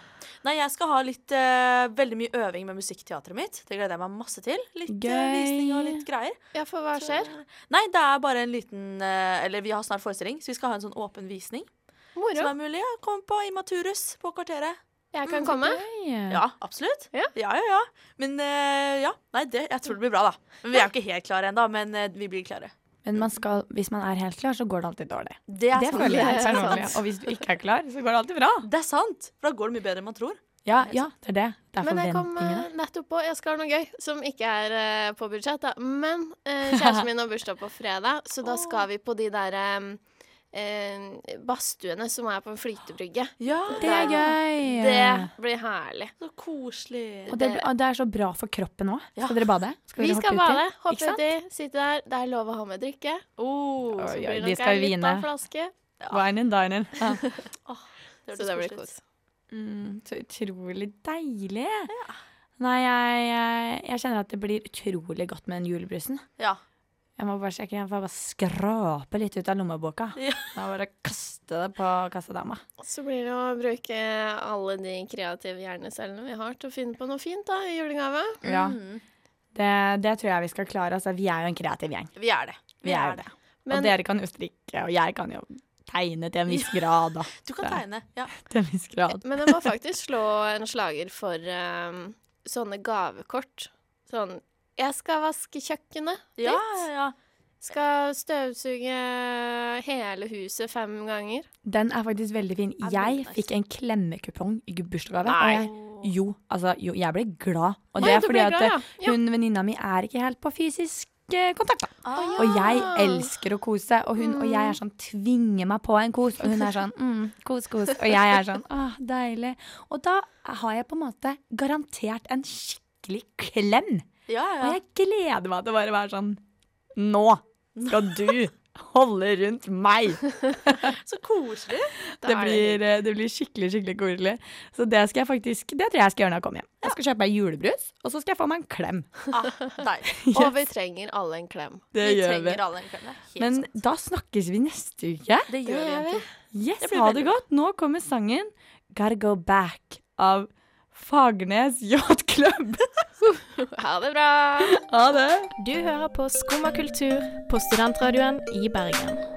[SPEAKER 9] Nei, jeg skal ha litt eh, veldig mye øving med musikkteatret mitt. Det gleder jeg meg masse til. Litt eh,
[SPEAKER 8] Gøy.
[SPEAKER 9] visning og litt greier.
[SPEAKER 10] ja, for hva skjer?
[SPEAKER 9] Nei, det er bare en liten eh, Eller vi har snart forestilling, så vi skal ha en sånn åpen visning. Som
[SPEAKER 10] Moro.
[SPEAKER 9] er mulig å komme på i Maturus på kvarteret.
[SPEAKER 10] Jeg
[SPEAKER 8] Mm,
[SPEAKER 10] kan komme.
[SPEAKER 9] Ja, absolutt.
[SPEAKER 10] Ja.
[SPEAKER 9] ja, ja. ja. Men eh, ja. Nei, det, jeg tror det blir bra, da. Men vi er jo ikke helt klare ennå, men eh, vi blir klare.
[SPEAKER 8] Men man skal, hvis man er helt klar, så går det alltid dårlig.
[SPEAKER 9] Det er,
[SPEAKER 8] Det
[SPEAKER 9] sant.
[SPEAKER 8] føler jeg
[SPEAKER 10] Det er
[SPEAKER 8] personlig. Og hvis du ikke er klar, så går det alltid bra.
[SPEAKER 9] Det er sant. For da går det mye bedre enn man tror.
[SPEAKER 8] Ja, ja det er det. Det er
[SPEAKER 10] Men jeg kom
[SPEAKER 8] forventningene.
[SPEAKER 10] eh, nettopp på Jeg skal ha noe gøy som ikke er eh, på budsjett, da. Men eh, kjæresten min har bursdag på fredag, så da skal vi på de der eh, eh, badstuene som er på en flytebrygge.
[SPEAKER 9] Ja,
[SPEAKER 8] Det er gøy.
[SPEAKER 10] Det blir herlig.
[SPEAKER 9] Så koselig.
[SPEAKER 8] Og det, og det er så bra for kroppen òg. Skal dere bade?
[SPEAKER 10] Vi
[SPEAKER 8] dere
[SPEAKER 10] skal
[SPEAKER 8] hoppe uti?
[SPEAKER 10] bade,
[SPEAKER 8] Ikke
[SPEAKER 10] hoppe
[SPEAKER 8] sant?
[SPEAKER 10] uti, sitte der. Det er lov å ha med drikke.
[SPEAKER 9] Oh,
[SPEAKER 10] Så
[SPEAKER 8] Oi,
[SPEAKER 10] blir
[SPEAKER 8] oi,
[SPEAKER 10] det
[SPEAKER 8] de
[SPEAKER 10] nok
[SPEAKER 8] skal
[SPEAKER 10] ei liten
[SPEAKER 8] vine.
[SPEAKER 10] flaske.
[SPEAKER 8] Wine and dine. Ja.
[SPEAKER 10] Så det blir kos.
[SPEAKER 8] Mm, så utrolig deilig. Nei, jeg, jeg, jeg kjenner at det blir utrolig godt med den julebrusen.
[SPEAKER 9] Ja.
[SPEAKER 8] Jeg må bare sjekke, jeg får bare skrape litt ut av lommeboka.
[SPEAKER 9] Ja.
[SPEAKER 8] Da bare kaste det på kassadama.
[SPEAKER 10] Så blir det å bruke alle de kreative hjernecellene vi har til å finne på noe fint da, i julegave.
[SPEAKER 8] Ja. Mm. Det, det tror jeg vi skal klare. Altså, vi er jo en kreativ gjeng.
[SPEAKER 9] Vi er det.
[SPEAKER 8] Vi er jo det.
[SPEAKER 10] Men-
[SPEAKER 8] Og dere kan jo strikke, og jeg kan jo tegne til en viss grad, da.
[SPEAKER 9] Du kan
[SPEAKER 8] Det er-
[SPEAKER 9] tegne. Ja.
[SPEAKER 8] Til en viss grad.
[SPEAKER 10] Men jeg må faktisk slå en slager for eh, sånne gavekort. Sånn Jeg skal vaske kjøkkenet.
[SPEAKER 9] Ja, ja, ja.
[SPEAKER 10] Skal støvsuge hele huset fem ganger.
[SPEAKER 8] Den er faktisk veldig fin.
[SPEAKER 9] Ja,
[SPEAKER 8] Jeg
[SPEAKER 9] veldig nice.
[SPEAKER 8] fikk en klemmekupong i bursdagsgave. og
[SPEAKER 10] Nei.
[SPEAKER 8] jeg- Jo, altså, jo, jeg ble glad. Og det
[SPEAKER 10] Oi,
[SPEAKER 8] er
[SPEAKER 10] du
[SPEAKER 8] fordi
[SPEAKER 10] ble
[SPEAKER 8] at
[SPEAKER 10] glad,
[SPEAKER 8] eh,
[SPEAKER 10] ja. Ja.
[SPEAKER 8] hun venninna mi er ikke helt på fysisk eh, kontakt, da.
[SPEAKER 9] Ah, Mm.
[SPEAKER 8] Og jeg elsker å kose, og hun og jeg er sånn tvinger meg på en kos, og hun er sånn mm, kos, kos, og jeg er sånn ah, deilig. Og da har jeg på en måte garantert en skikkelig klem.
[SPEAKER 9] ja,
[SPEAKER 8] Og
[SPEAKER 9] ja.
[SPEAKER 8] jeg gleder meg til å bare være sånn Nå skal du holde rundt meg.
[SPEAKER 9] Så koselig.
[SPEAKER 8] Det blir, eh, det blir skikkelig skikkelig koselig. Så det skal jeg faktisk, det tror jeg jeg skal gjøre når jeg kommer hjem. Jeg skal kjøpe meg julebrus, og så skal jeg få meg en klem.
[SPEAKER 9] ah, deilig.
[SPEAKER 10] Og vi trenger alle en klem.
[SPEAKER 8] Det
[SPEAKER 9] vi
[SPEAKER 8] gjør vi.
[SPEAKER 9] trenger alle en klem. det er helt
[SPEAKER 8] Men
[SPEAKER 9] sant.
[SPEAKER 8] da snakkes vi neste uke.
[SPEAKER 9] det gjør vi. egentlig.
[SPEAKER 8] Yes,
[SPEAKER 9] Det blir
[SPEAKER 8] ha
[SPEAKER 9] veldig
[SPEAKER 8] det
[SPEAKER 9] bra.
[SPEAKER 8] godt. Nå kommer sangen Gotta Go Back av Fagernes Yacht Club.
[SPEAKER 10] Ha det bra!
[SPEAKER 8] Ha det.
[SPEAKER 1] Du hører på Skumma kultur på studentradioen i Bergen.